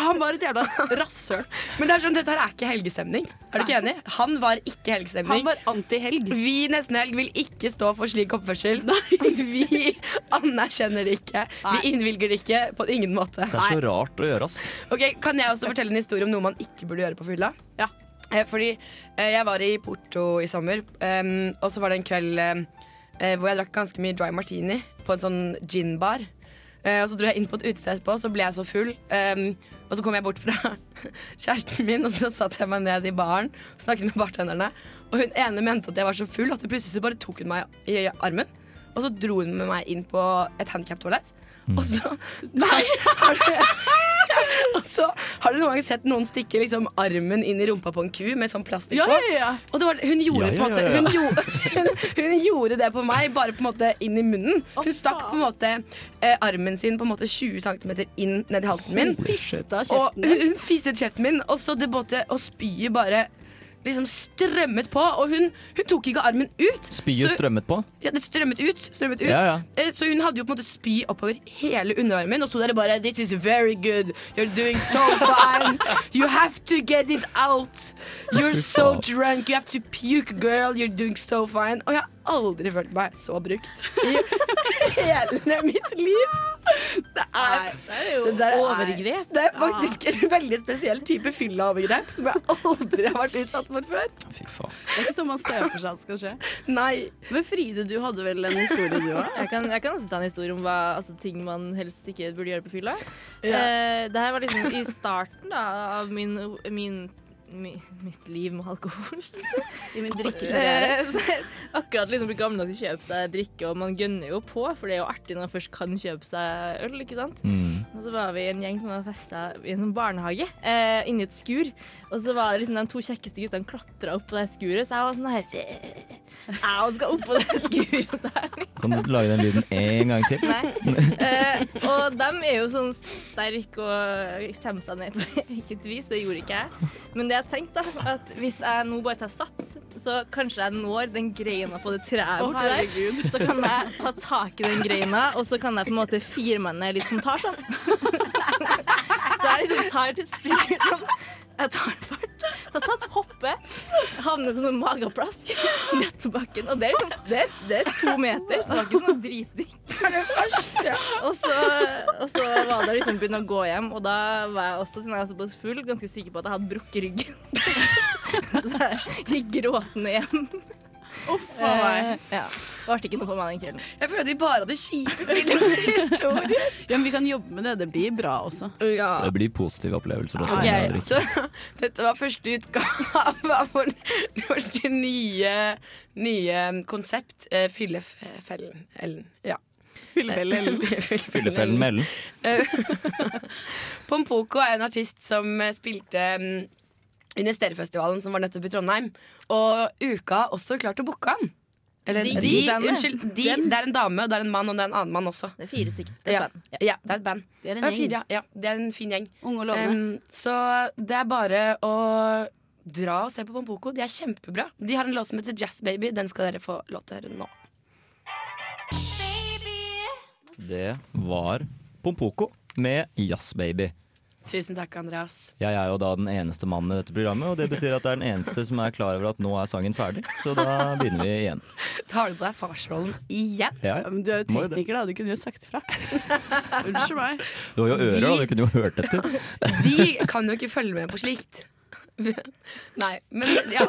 Speaker 7: Han var et jævla rasshøl.
Speaker 3: Men det er sånn, dette her er ikke helgestemning. Er du ikke enig? Han var ikke helgestemning.
Speaker 7: Han var antihelg.
Speaker 3: Vi nesten helg vil ikke stå for slik oppførsel. Vi anerkjenner det ikke. Vi innvilger det ikke på ingen måte.
Speaker 6: Det er så rart å gjøre, ass.
Speaker 3: Ok, Kan jeg også fortelle en historie om noe man ikke burde gjøre på fylla?
Speaker 7: Ja.
Speaker 3: Eh, Fordi eh, jeg var i Porto i sommer, em, og så var det en kveld em, eh, hvor jeg drakk ganske mye dry martini på en sånn ginbar. Eh, og så dro jeg inn på et utested etterpå, så ble jeg så full. em, og så kom jeg bort fra kjæresten min, og så satte jeg meg ned i baren og snakket med bartenderne. Og hun ene mente at jeg var så full at plutselig så bare tok hun meg i armen. Og så dro hun med meg inn på et handikap-toalett.
Speaker 7: Mm.
Speaker 3: Og så Nei! Har du, og så har du noen gang sett noen stikke liksom armen inn i rumpa på en ku med sånn plastikk på?
Speaker 7: Ja, ja, ja.
Speaker 3: Og det var, hun, gjorde
Speaker 6: Ja, ja, ja,
Speaker 3: På en måte,
Speaker 6: ja.
Speaker 3: hun, gjorde, hun, hun gjorde det på meg, bare på en måte inn i munnen. Hun stakk på en måte eh, armen sin på en måte 20 cm inn ned i halsen min.
Speaker 7: Fista
Speaker 3: Og
Speaker 7: kjeften
Speaker 3: hun
Speaker 7: din.
Speaker 3: hun fisset kjeften min, og så det både, og spyet bare liksom strømmet på. Og hun, hun tok ikke armen ut.
Speaker 6: Spyet
Speaker 3: så-
Speaker 6: strømmet på.
Speaker 3: ja, det strømmet ut. Strømmet ut.
Speaker 6: Ja, ja.
Speaker 3: Eh, Så hun hadde jo på en måte spy oppover hele underarmen og sto der og bare This is very good. You're doing so fine. You have to get it out. You're
Speaker 6: Fy
Speaker 3: so
Speaker 6: faen.
Speaker 3: drunk. You have to puke, girl. You're doing so fine. Og jeg har aldri følt meg så brukt i hele mitt liv. Det er, det der er
Speaker 4: overgrep.
Speaker 3: Det er faktisk en veldig spesiell type fylla-overgrep som jeg aldri har vært utsatt for før.
Speaker 6: Fy faen.
Speaker 7: Det er ikke sånn man ser for seg at skal skje.
Speaker 3: Nei.
Speaker 7: Men Fride, du hadde vel en historie, du òg?
Speaker 4: Jeg kan, jeg kan også ta en historie om hva, altså, ting man helst ikke burde gjøre på fylla.
Speaker 3: Ja.
Speaker 4: Eh, det her var liksom i starten da, av min, min, mi- mitt liv med alkohol.
Speaker 7: I min drikkekarriere.
Speaker 4: Eh, så jeg akkurat liksom blitt gammel nok til å kjøpe seg drikke, og man gønner jo på, for det er jo artig når man først kan kjøpe seg øl, ikke sant?
Speaker 6: Mm.
Speaker 4: Og så var vi en gjeng som hadde festa i en sånn barnehage, eh, inni et skur. Og så var det liksom de to kjekkeste guttene klatra opp på det skuret, så jeg var sånn her Jeg skal opp på det skuret der.
Speaker 6: Kan du lage den lyden en gang til?
Speaker 4: Eh, og de er jo sånn sterke og kommer seg ned på eget vis. Det gjorde ikke jeg. Men det jeg tenkte, da, at hvis jeg nå bare tar sats, så kanskje jeg når den greina på det treet borti der. Så kan jeg ta tak i den greina, og så kan jeg på en måte fire meg ned litt som tar sånn. Så jeg liksom tar til springet sånn. Jeg tar en fart, tar sats, hopper, havner sånn med mageplask rett på bakken. Og det er liksom det, er- det er to meter, så det var ikke sånn dritdigg. Og så, og så var det liksom begynne å gå hjem, og da var jeg også, siden jeg var såpass full, ganske sikker på at jeg hadde brukket ryggen. Så jeg gikk gråtende hjem. Uff
Speaker 3: a meg.
Speaker 4: Ja. Det ble ikke noe på meg den kvelden.
Speaker 7: Jeg føler at vi bare hadde kjipe filmhistorier. ja, men vi kan jobbe med det. Det blir bra også.
Speaker 6: Det blir positive opplevelser. Også, når
Speaker 3: Ok,
Speaker 6: man drikker.
Speaker 3: så dette var første utgave av vår, vårt nye, nye konsept, eh, Fyllefellen. Ellen, ja.
Speaker 7: Fyllefellen.
Speaker 6: Fyllefellen med Ellen.
Speaker 3: Pompoko er en artist som eh, spilte mm, under Stereofestivalen som var nettopp i Trondheim. Og Uka har også klart å booke han. Eller
Speaker 4: De-
Speaker 3: de,
Speaker 4: bandet.
Speaker 3: unnskyld. De,
Speaker 4: Dem.
Speaker 3: det er en dame, og det er en mann, og det er en annen mann også.
Speaker 4: Det er fire stykker. Det er
Speaker 3: Ja,
Speaker 4: band.
Speaker 3: ja, det er et band.
Speaker 4: Det er en
Speaker 3: Ja,
Speaker 4: gjeng.
Speaker 3: Fire, ja. ja, det er en fin gjeng.
Speaker 7: Unge og lovende.
Speaker 3: Em, så det er bare å dra og se på Pompoko. De er kjempebra. De har en låt som heter Jazz Baby. Den skal dere få lov til å høre nå.
Speaker 6: Det var Pompoko med Jazzbaby.
Speaker 3: Tusen takk, Andreas.
Speaker 6: Jeg er jo da den eneste mannen i dette programmet, og det betyr at det er den eneste som er klar over at nå er sangen ferdig, så da begynner vi igjen.
Speaker 3: Tar du på deg farsrollen igjen?
Speaker 6: Ja, ja.
Speaker 7: Men du er jo
Speaker 6: Må jo det.
Speaker 7: tekniker, da. Du kunne jo sagt ifra. Unnskyld meg.
Speaker 6: Du har jo ører, da, du kunne jo hørt etter.
Speaker 3: Vi kan jo ikke følge med på slikt. Nei, men ja.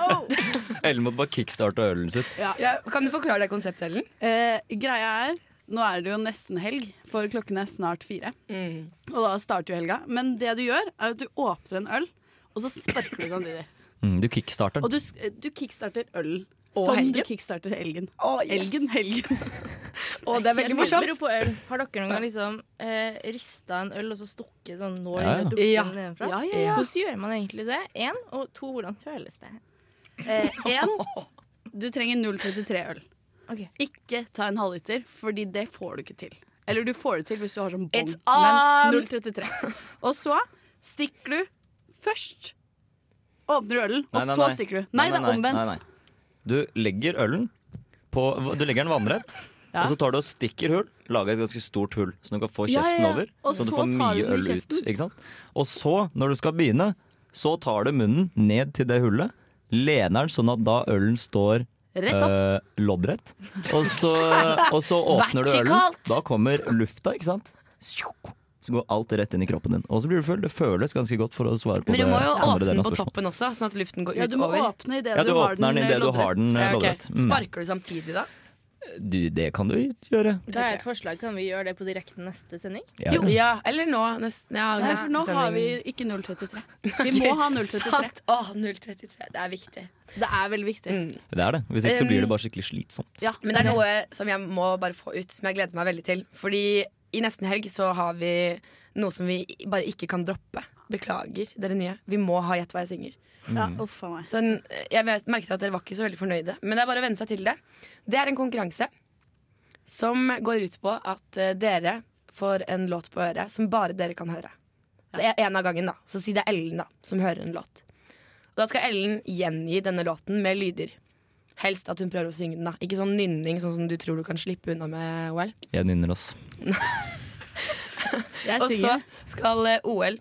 Speaker 6: Ellen måtte bare kickstarte ølen sin.
Speaker 3: Ja, Kan du forklare det konseptet, Ellen?
Speaker 7: Eh, greia er, nå er det jo nesten helg, for klokken er snart fire. Og da starter jo helga. Men det du gjør, er at du åpner en øl, og så sparker du samtidig.
Speaker 6: Mm, du kickstarter
Speaker 7: Og
Speaker 6: den.
Speaker 7: du, sk- du kickstarter øl.
Speaker 3: Og
Speaker 7: som du
Speaker 3: helgen.
Speaker 7: kickstarter helgen.
Speaker 3: yes.
Speaker 7: Elgen, helgen.
Speaker 3: Og det er veldig morsomt.
Speaker 4: Apropos øl, har dere noen gang liksom eh, rista en øl og så stukket sånn nål ja,
Speaker 6: Ja, ja.
Speaker 4: og dukket
Speaker 3: Ja.
Speaker 4: den nedenfra?
Speaker 7: Ja, ja, ja.
Speaker 4: Hvordan gjør man egentlig det? En, og to, hvordan føles det?
Speaker 7: Eh, en, du trenger 0,33-øl.
Speaker 4: Ok.
Speaker 7: Ikke ta en halvliter, fordi det får du ikke til. Eller du får det til hvis du har sånn bånd,
Speaker 3: It's on!
Speaker 7: men 0,33. Og så stikker du først. Åpner du ølen, og så stikker du. Nei, det er omvendt.
Speaker 6: nei, nei. Du legger ølen på Du legger den vannrett,
Speaker 7: Ja.
Speaker 6: og så tar du og stikker hull. Lager et ganske stort hull, så du kan få
Speaker 7: Ja, ja,
Speaker 6: kjeften
Speaker 7: ja.
Speaker 6: over.
Speaker 7: Og
Speaker 6: så du
Speaker 7: så
Speaker 6: får
Speaker 7: tar du
Speaker 6: mye
Speaker 7: den i
Speaker 6: øl ut.
Speaker 7: kjeften.
Speaker 6: Ikke sant? Og så, når du skal begynne, så tar du munnen ned til det hullet. Lener den sånn at da ølen står
Speaker 7: Rett opp.
Speaker 6: eh, loddrett. Og så, og så åpner du ølen.
Speaker 3: Vertikalt.
Speaker 6: Da kommer lufta, ikke sant. Så går alt rett inn i kroppen din. Og så blir du full. Det føles ganske godt for å svare på
Speaker 3: Men du
Speaker 6: det
Speaker 3: må jo
Speaker 6: andre
Speaker 3: åpne
Speaker 6: delen
Speaker 3: den
Speaker 6: av
Speaker 3: på
Speaker 6: spørsmålet.
Speaker 3: toppen også, sånn at luften går
Speaker 7: Ja, du må
Speaker 3: utover.
Speaker 7: åpne idet
Speaker 6: Ja,
Speaker 7: du,
Speaker 6: du
Speaker 7: har
Speaker 6: åpner
Speaker 7: den
Speaker 6: den
Speaker 7: eh,
Speaker 6: idet du
Speaker 7: loddrett.
Speaker 6: har den eh,
Speaker 3: Ja, ok.
Speaker 6: loddrett. Mm.
Speaker 3: Sparker du samtidig da?
Speaker 6: Du, det kan du gjøre.
Speaker 4: Da er et forslag. Kan vi gjøre det på direkten neste sending?
Speaker 6: Ja,
Speaker 3: Jo,
Speaker 6: ja.
Speaker 3: ja, eller nå. Nesten, ja,
Speaker 7: Nei,
Speaker 3: neste
Speaker 7: for nå har vi
Speaker 3: sending.
Speaker 7: ikke 0,33. Vi må ha 0,33.
Speaker 3: Sant. Åh, 0,33. Det er viktig.
Speaker 7: Det er veldig viktig.
Speaker 6: Det er det. Hvis ikke så
Speaker 3: Um,
Speaker 6: blir det bare skikkelig slitsomt.
Speaker 7: Ja,
Speaker 3: Men det er noe som jeg må bare få ut, som jeg gleder meg veldig til. Fordi i nesten helg så har vi noe som vi bare ikke kan droppe. Beklager, dere nye. Vi må ha Gjett hva jeg synger.
Speaker 7: ja,
Speaker 6: Mm.
Speaker 7: uff a meg.
Speaker 3: Så en- jeg vet, merket at dere var ikke så veldig fornøyde, men det er bare å venne seg til det. Det er en konkurranse som går ut på at eh, dere får en låt på øret som bare dere kan høre. Det er en av gangen, da. Så si det er Ellen da, som hører en låt. Og da skal Ellen gjengi denne låten med lyder. Helst at hun prøver å synge den, da. Ikke sånn nynning sånn som du tror du kan slippe unna med OL.
Speaker 6: Jeg nynner oss.
Speaker 7: Jeg
Speaker 3: Og så
Speaker 7: synger.
Speaker 3: skal eh, OL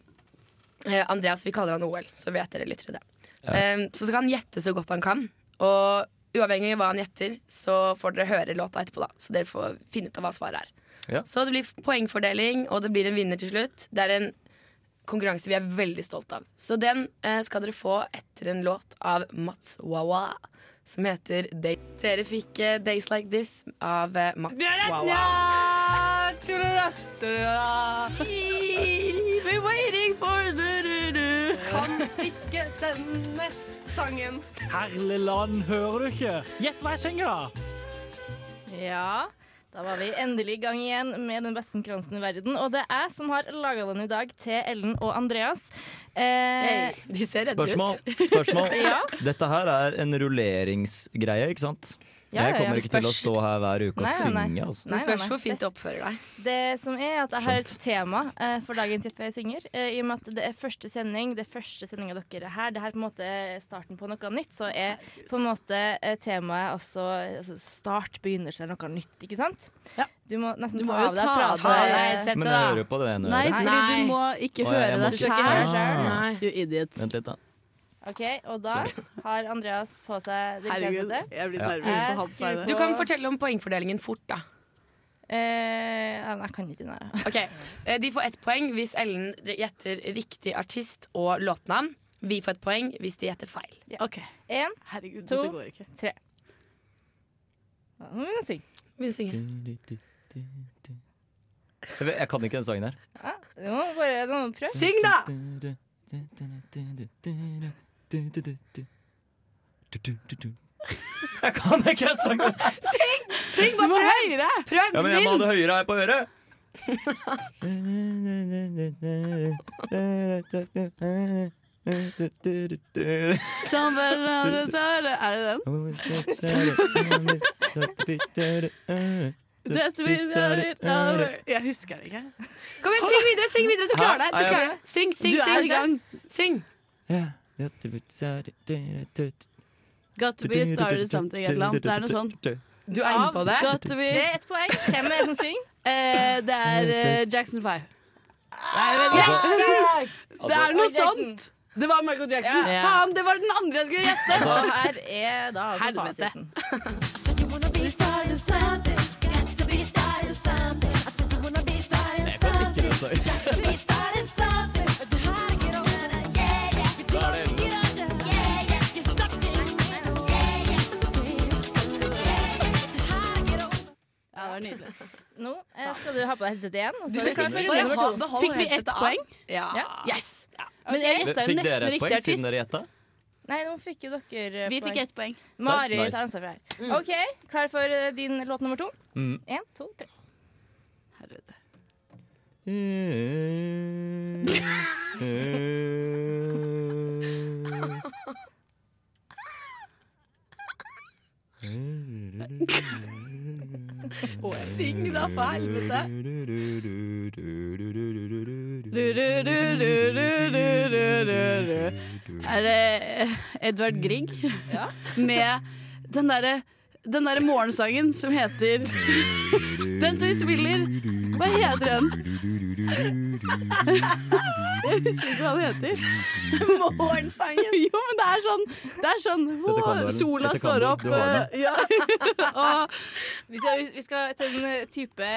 Speaker 3: eh, Andreas, vi kaller han OL, så vet dere litt det. Eh, så skal han gjette så godt han kan. Og uavhengig av hva han gjetter, så får dere høre låta etterpå, da. Så dere får finne ut av hva svaret er.
Speaker 6: Ja.
Speaker 3: Så det blir poengfordeling, og det blir en vinner til slutt. Det er en konkurranse vi er veldig stolte av. Så den eh, skal dere få etter en låt av Mats Wawa. Som heter Day Dere fikk eh, Days Like This av eh, Mats Wawa.
Speaker 10: Kan ikke denne sangen.
Speaker 11: Herlig land, hører du ikke? Gjett hva jeg synger, da!
Speaker 4: Ja, da var vi endelig i gang igjen med den beste konkurransen i verden. Og det er jeg som har laga den i dag til Ellen og Andreas. Eh,
Speaker 3: De ser redde
Speaker 6: Spørsmål.
Speaker 3: ut.
Speaker 6: Spørsmål.
Speaker 4: Ja.
Speaker 6: Dette her er en rulleringsgreie, ikke sant?
Speaker 4: Ja,
Speaker 6: jeg
Speaker 4: ja,
Speaker 6: kommer
Speaker 4: ja.
Speaker 6: ikke til å
Speaker 4: Spørs-
Speaker 6: stå her hver uke og
Speaker 4: Nei, nei, nei.
Speaker 6: synge. Altså.
Speaker 3: Det Eh,
Speaker 4: Nei, nei,
Speaker 3: spørs
Speaker 4: nei.
Speaker 3: hvor fint du oppfører deg.
Speaker 4: det som er at jeg har et tema eh, for dagens Gjett hva jeg synger. Eh, I og med at det er første sending, det er første sendinga dere er her. Det her er på en måte starten på noe nytt. Så er på en måte eh, temaet også altså start, begynnelse, eller noe nytt, ikke sant?
Speaker 7: Ja.
Speaker 4: Du må nesten
Speaker 7: Du må
Speaker 4: ta
Speaker 7: jo
Speaker 4: av deg
Speaker 7: ta av
Speaker 4: prate.
Speaker 7: deg
Speaker 6: Men jeg hører jo på det ene
Speaker 7: Nei,
Speaker 6: øret.
Speaker 7: fordi
Speaker 3: Nei.
Speaker 7: du må ikke
Speaker 6: Å, ja, jeg
Speaker 7: høre
Speaker 6: må
Speaker 7: deg
Speaker 4: Du skal ikke høre
Speaker 7: sjæl.
Speaker 4: sjøl.
Speaker 6: Ah,
Speaker 7: Du idiot.
Speaker 6: vent litt, da.
Speaker 4: Ok, og da har Andreas på seg det
Speaker 7: Herregud,
Speaker 4: gresset.
Speaker 7: jeg Eh, blir
Speaker 6: Ja.
Speaker 7: nervøs på hans
Speaker 4: Jeg
Speaker 7: vegne.
Speaker 4: skulle
Speaker 3: Du kan fortelle om poengfordelingen fort, da.
Speaker 4: Eh, nei, jeg kan ikke den her.
Speaker 3: Ok, eh, De får ett poeng hvis Ellen gjetter riktig artist og låtnavn. Vi får et poeng hvis de gjetter feil.
Speaker 7: Ok,
Speaker 4: En,
Speaker 7: herregud,
Speaker 4: To.
Speaker 7: dette går ikke.
Speaker 4: tre. Mm, Syng.
Speaker 3: Begynn å synge.
Speaker 6: Jeg vet- Jeg kan ikke den sangen her.
Speaker 4: Ja, du må bare du må prøve.
Speaker 3: Syng, da!
Speaker 6: Jeg kan ikke den sangen!
Speaker 3: Syng! Syng,
Speaker 7: Du
Speaker 3: bare
Speaker 7: må
Speaker 3: prøv!
Speaker 7: høyere!
Speaker 3: Prøv
Speaker 6: Ja, men jeg må ha det høyere her på øret!
Speaker 7: Somebody love the daughter. Er det den?
Speaker 6: Mm.
Speaker 7: That we love it over. Jeg husker det ikke.
Speaker 1: Kom igjen, syng videre! syng videre, Du
Speaker 6: Hæ?
Speaker 1: klarer det. du
Speaker 6: Er jeg-
Speaker 1: klarer det Syng, syng,
Speaker 7: Du er
Speaker 1: syng.
Speaker 7: i gang.
Speaker 1: Syng.
Speaker 7: Got to be started something et eller annet. Det er noe sånn.
Speaker 3: Du er inne på det.
Speaker 7: Got to be
Speaker 4: Det er ett poeng. Hvem er det som synger?
Speaker 7: eh, Det er eh, Jackson 5.
Speaker 4: Yes!
Speaker 7: Det er noe
Speaker 4: Oi, Jackson.
Speaker 7: sånt! Det var Michael Oh Jackson.
Speaker 4: Ja.
Speaker 7: Faen, det var den andre jeg skulle gjette!
Speaker 4: Og
Speaker 6: Altså-
Speaker 4: her er da altså
Speaker 7: Helvete.
Speaker 4: fasiten.
Speaker 7: Ja, det var nydelig.
Speaker 4: Nå eh, skal du ha på deg headsetet igjen. Og så
Speaker 7: Du
Speaker 4: er du klar for
Speaker 7: begynner.
Speaker 4: runde nummer
Speaker 7: Bare ha-
Speaker 4: to.
Speaker 7: behold Fikk vi ett headsetet av. poeng?
Speaker 4: Ja.
Speaker 7: Yes! Men jeg gjetta jo
Speaker 6: Fikk
Speaker 7: nesten
Speaker 6: dere et
Speaker 7: riktig
Speaker 6: poeng siden
Speaker 7: artist.
Speaker 6: dere gjetta?
Speaker 4: Nei, nå fikk jo dere eh,
Speaker 7: Vi fikk Mm. ett poeng.
Speaker 4: Mari
Speaker 6: Nice.
Speaker 4: tar ansvar for det her. OK, klar for eh, din låt nummer to?
Speaker 6: Mm.
Speaker 4: Én, to, tre.
Speaker 3: Syng, da, for helvete.
Speaker 7: Du-du-du-du-du-du-du-du-du. Er det Edvard Grieg?
Speaker 4: Ja.
Speaker 7: Med den derre den der morgensangen som heter Den som vi spiller Hva heter den? Jeg husker ikke hva den heter. Morgensangen. Jo, men det er sånn, det er sånn
Speaker 4: Dette kan du vel.
Speaker 7: Sola
Speaker 4: Dette kan
Speaker 7: står
Speaker 4: du.
Speaker 7: opp.
Speaker 4: Du har
Speaker 7: Ja. Og
Speaker 4: Vi skal, vi skal til en eh, type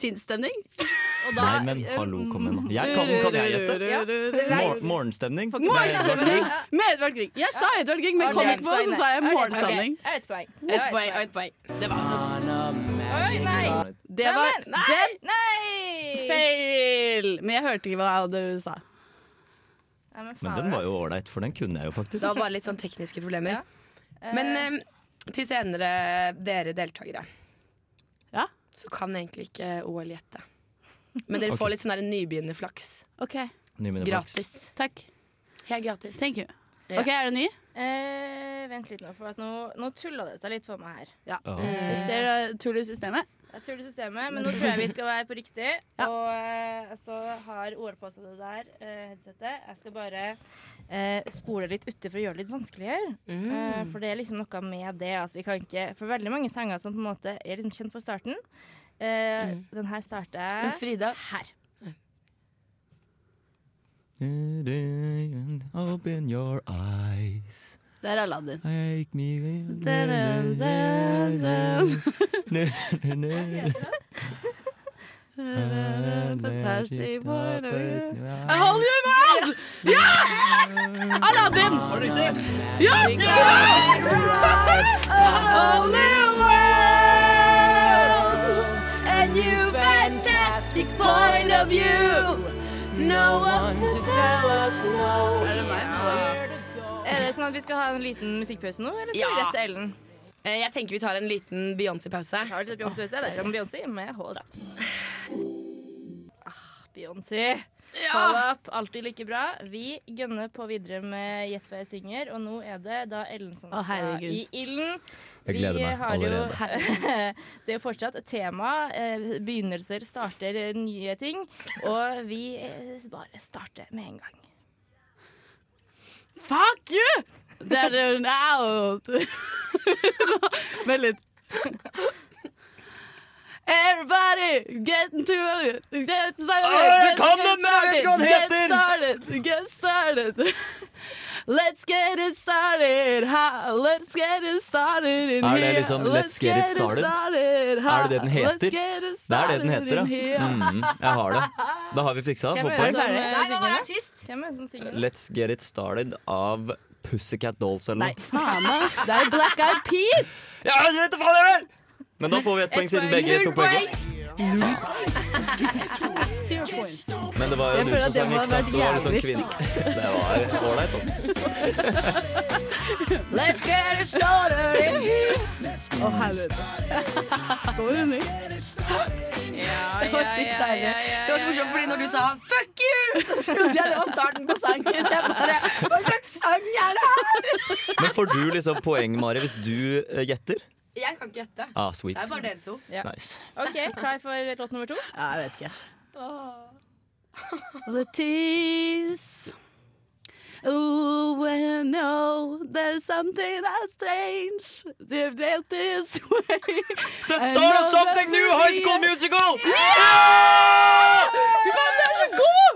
Speaker 7: sinnsstemning.
Speaker 4: Og da
Speaker 6: Nei, men hallo, kom igjen, da. Jeg kan, kan jeg gjette? Mor morgenstemning?
Speaker 7: Morgenstemning med Edvard Grieg. Jeg sa Edvard Grieg, men
Speaker 4: Ok,
Speaker 7: kom ikke på, så sa jeg
Speaker 4: Ok,
Speaker 7: morgensending.
Speaker 4: ok, Ett poeng.
Speaker 7: Ett poeng, og ett poeng. Det var
Speaker 4: Oi, nei!
Speaker 7: Det
Speaker 4: Neimen,
Speaker 7: var
Speaker 4: nei,
Speaker 7: den
Speaker 4: nei!
Speaker 7: feil! Men jeg hørte ikke hva du sa.
Speaker 4: Nei, men
Speaker 6: Men
Speaker 4: faen.
Speaker 6: den var jo ålreit, for den kunne jeg jo faktisk.
Speaker 3: Det var bare litt sånn tekniske problemer.
Speaker 4: Eh,
Speaker 3: Men eh, til senere dere deltakere,
Speaker 7: Ja.
Speaker 3: så kan egentlig ikke OL gjette. Men dere
Speaker 6: Ok.
Speaker 3: får litt sånn der nybegynnerflaks.
Speaker 7: OK.
Speaker 6: Nyminneflaks.
Speaker 3: Gratis.
Speaker 7: Takk.
Speaker 3: Helt gratis.
Speaker 7: Thank you.
Speaker 3: Ja.
Speaker 7: OK, er du ny?
Speaker 4: eh, vent litt nå, for at nå, nå tulla det seg litt for meg her.
Speaker 7: Ja.
Speaker 6: Ja.
Speaker 4: Eh,
Speaker 7: Ser du tull i systemet?
Speaker 4: Jeg tuller systemet, men nå tror jeg vi skal være på riktig. Og eh, så har OL på seg det der eh, headsetet. Jeg skal bare eh, spole litt uti for å gjøre det litt vanskeligere. Eh, for det er liksom noe med det at vi kan ikke For veldig mange sanger som på en måte er liksom kjent for starten. Eh, Den her starter
Speaker 3: Men Frida-
Speaker 4: her.
Speaker 6: Open your eyes.
Speaker 7: Det er Aladdin.
Speaker 6: Take me
Speaker 7: Dun, dun, dun. Fantastic boy. I hold your world! Ja! Aladdin! Ja! Hold your world and your fantastic point of view. No one to tell us no. Er det meg?
Speaker 4: Er det sånn at vi skal ha en liten musikkpause nå, eller skal vi
Speaker 3: Ja.
Speaker 4: rett til Ellen?
Speaker 3: Eh, Jeg tenker vi tar en liten Beyoncé-pause.
Speaker 4: Har du litt Beyoncé-pause? Det er som Beyoncé med hold up. Ah, Beyoncé. Hold up. Alltid like bra. Vi gønner på videre med Gjett hva jeg synger, og nå er det da Ellen som
Speaker 7: Å,
Speaker 4: skal
Speaker 7: herregud.
Speaker 4: i ilden.
Speaker 12: Jeg gleder meg allerede.
Speaker 4: det er jo fortsatt et tema. Eh, Begynnelser starter eh, nye ting, og vi eh, bare starter med en gang.
Speaker 7: Fuck you! That is out. Vent litt. Everybody, get into it. Get
Speaker 6: Åh,
Speaker 7: started.
Speaker 6: jeg
Speaker 7: Get-
Speaker 6: kan
Speaker 7: get
Speaker 6: den, men jeg vet ikke hva den heter.
Speaker 7: started. Get started. Get started. Let's get it started. Ha, let's get it started in
Speaker 6: Er det
Speaker 7: here.
Speaker 6: liksom Let's Get It Started?
Speaker 7: Ha,
Speaker 6: Er det det den
Speaker 7: let's
Speaker 6: heter? Det er
Speaker 7: get it
Speaker 6: det den
Speaker 7: started
Speaker 6: heter,
Speaker 7: in
Speaker 6: ja.
Speaker 7: here.
Speaker 6: Mm, jeg har det. Da har vi fiksa. Få
Speaker 4: Hvem er det
Speaker 6: poeng.
Speaker 4: som eh,
Speaker 3: Nei, hva var
Speaker 4: synger?
Speaker 3: artist?
Speaker 4: Hvem er det som synger?
Speaker 6: Let's Get It Started av Pussycat Dolls eller
Speaker 7: Nei,
Speaker 6: noe.
Speaker 7: faen da. Det er jo Black Eyed Peas!
Speaker 6: Ja, jeg vet da faen jeg vil! Men da får vi ett poeng siden begge tok poenget.
Speaker 7: Zero points.
Speaker 6: Men det var jo
Speaker 7: Jeg
Speaker 6: du
Speaker 7: føler
Speaker 6: som
Speaker 7: at det
Speaker 6: sang,
Speaker 7: må ha
Speaker 6: ikke sant? Så var
Speaker 7: vært
Speaker 6: det sånn
Speaker 7: jævlig
Speaker 6: kvinne. Det var ålreit, altså.
Speaker 3: Let's get it started in here.
Speaker 7: Å, helvete. Går det ned?
Speaker 3: Det var sykt deilig. Det var så morsomt, fordi når du sa 'fuck you', så trodde jeg det var starten på sangen. Jeg bare, Hva slags sang er det her?
Speaker 6: Men får du liksom poeng, Mari, hvis du eh, gjetter?
Speaker 3: Jeg kan ikke gjette.
Speaker 6: Ah, sweet.
Speaker 3: Det er bare dere to.
Speaker 4: Ja.
Speaker 6: Nice.
Speaker 4: OK, klar for låt nummer to?
Speaker 7: Ja, jeg vet ikke. The tears. Oh, well, no, there's something that's strange. They've dealt this way.
Speaker 6: The
Speaker 7: I
Speaker 6: star of
Speaker 7: know
Speaker 6: something
Speaker 7: that
Speaker 6: new,
Speaker 7: we-
Speaker 6: High School Musical!
Speaker 7: Fy faen, det er så god!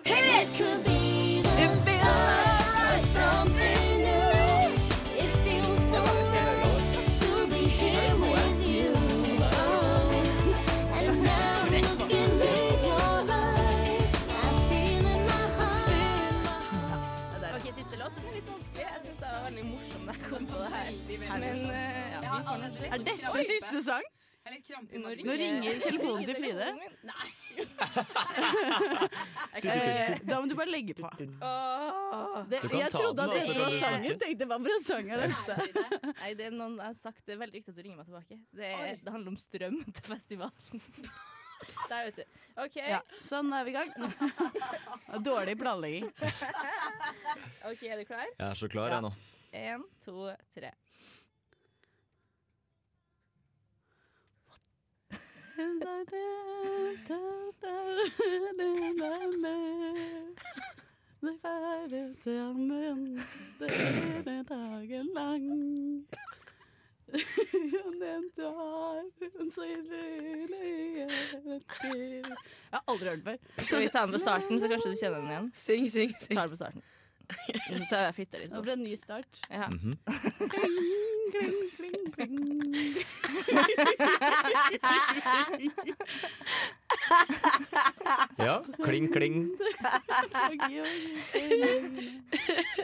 Speaker 4: Ok, Siste låt den er litt vanskelig. Jeg syns det var veldig morsomt da jeg kom på det her. Men eh, ja, vi får nå se.
Speaker 7: Er dette
Speaker 4: Oi.
Speaker 7: siste sang? Nå ringer telefonen til Fride. Eh, Da må du bare legge på. Det,
Speaker 4: Du kan
Speaker 7: jeg
Speaker 4: ta
Speaker 7: trodde
Speaker 4: den,
Speaker 7: at
Speaker 4: da, så
Speaker 7: dette
Speaker 4: kan
Speaker 7: var
Speaker 4: du
Speaker 7: sangen.
Speaker 4: snakke.
Speaker 7: Tenkte, hva for en sang er dette?
Speaker 4: Nei, det er noen jeg har sagt det er veldig viktig at du ringer meg tilbake. Det, er, det handler om strøm til festivalen. Der, vet du. OK.
Speaker 7: Ja, sånn er vi i gang. Dårlig planlegging.
Speaker 4: OK, er du klar?
Speaker 6: Jeg er så klar, jeg nå.
Speaker 4: Én, to, tre.
Speaker 7: Det feirer sammen, det er dagen lang. Og Den tar hun så ille Jeg har aldri hørt den før.
Speaker 4: Skal vi ta den på starten, så kanskje du kjenner den igjen?
Speaker 3: Syng, syng, syng.
Speaker 4: Ta den på starten. Så tar jeg flytter litt
Speaker 7: Nå
Speaker 4: på.
Speaker 7: ble det en ny start.
Speaker 4: Ja.
Speaker 7: Kling, kling, kling, kling.
Speaker 6: Ja, kling, kling.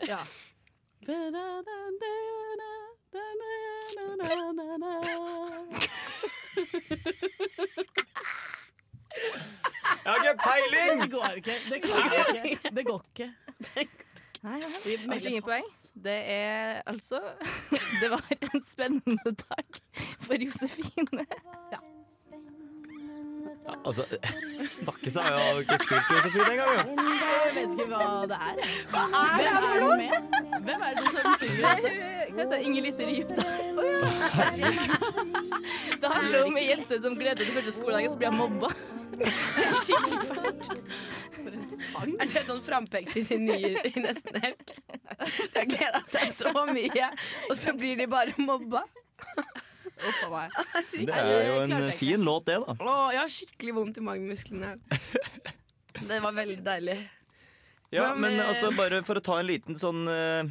Speaker 7: Ja.
Speaker 6: Jeg har ikke peiling!
Speaker 7: Det går ikke. Det går ikke. Det går ikke.
Speaker 4: Nei, ja.
Speaker 7: Vi
Speaker 4: Det
Speaker 7: melder
Speaker 4: ble ingen poeng. Det er altså Det var en spennende dag for Josefine.
Speaker 6: Ja, altså, snakke seg har jo ikke spilt Josefine engang, jo.
Speaker 7: Jeg vet ikke hva det
Speaker 4: er
Speaker 7: er.
Speaker 4: det
Speaker 7: Hvem
Speaker 4: her
Speaker 7: er
Speaker 4: for
Speaker 7: det med? Hvem er det som synger
Speaker 4: Nei,
Speaker 7: dette?
Speaker 4: hun- Hva heter hun? Inger Lise Rypdal. Det handler om ei jente som gleder seg til første skoledag, og så blir hun mobba. Skikkelig fælt.
Speaker 3: Er det sånn frampekt i sin nye i nesten helg? De har gleda seg så mye, og så blir de bare mobba.
Speaker 7: Uff a meg.
Speaker 6: Det er jo en fin låt, det, da.
Speaker 3: Å, jeg har skikkelig vondt i magemusklene. Det var veldig deilig.
Speaker 6: Ja,
Speaker 3: Hva med-
Speaker 6: men altså, bare for å ta en liten sånn eh,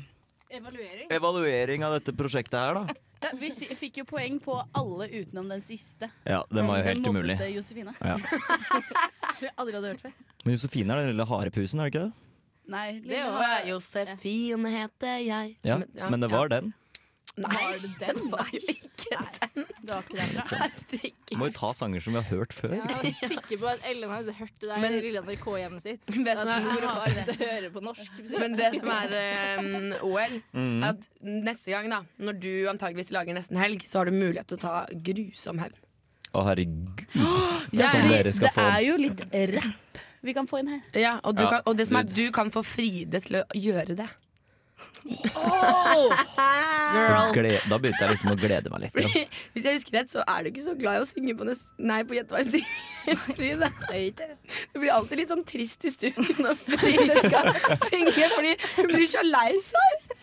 Speaker 4: Evaluering.
Speaker 6: evaluering av dette prosjektet her, da.
Speaker 7: Ja, vi si- fikk jo poeng på alle utenom den siste.
Speaker 6: Ja, den var jo helt umulig.
Speaker 7: mobbete Josefine.
Speaker 6: Ja.
Speaker 7: Som vi aldri hadde hørt før.
Speaker 6: Men Josefine er den lille harepusen, er det ikke det?
Speaker 7: Nei,
Speaker 3: Det var Josefine heter jeg.
Speaker 6: Ja, Men det var den.
Speaker 3: Nei,
Speaker 7: Var det den?
Speaker 3: det var jo ikke den.
Speaker 7: Det var ikke den.
Speaker 6: Må jo ta sanger som vi har hørt før.
Speaker 4: Jeg var sikker på at Ellen hadde hørt det der
Speaker 3: Men-
Speaker 4: i Lillehammer K-hjemmet sitt. At
Speaker 3: Vet du hva?
Speaker 4: mor og far sitter og hører på norsk musikk.
Speaker 3: Men det som er eh, OL,
Speaker 4: Mhm.
Speaker 3: er at neste gang, da når du antageligvis lager nesten helg, så har du mulighet til å ta grusom hevn.
Speaker 6: Å, herregud.
Speaker 7: Ja,
Speaker 6: Som
Speaker 7: fordi
Speaker 6: dere skal
Speaker 7: det
Speaker 6: få.
Speaker 7: er jo litt rapp vi kan få inn her.
Speaker 3: Ja, og, du
Speaker 6: Ja,
Speaker 3: kan, og det som er,
Speaker 6: dude.
Speaker 3: du kan få Fride til å gjøre det.
Speaker 6: Da gle- Da begynte jeg liksom å glede meg litt. Ja.
Speaker 3: Hvis jeg husker rett, så er du ikke så glad i å synge på nest... Nei, på Gjett hva jeg synger. Fride. Det blir alltid litt sånn trist i studio når Fride skal synge, fordi hun blir så lei seg.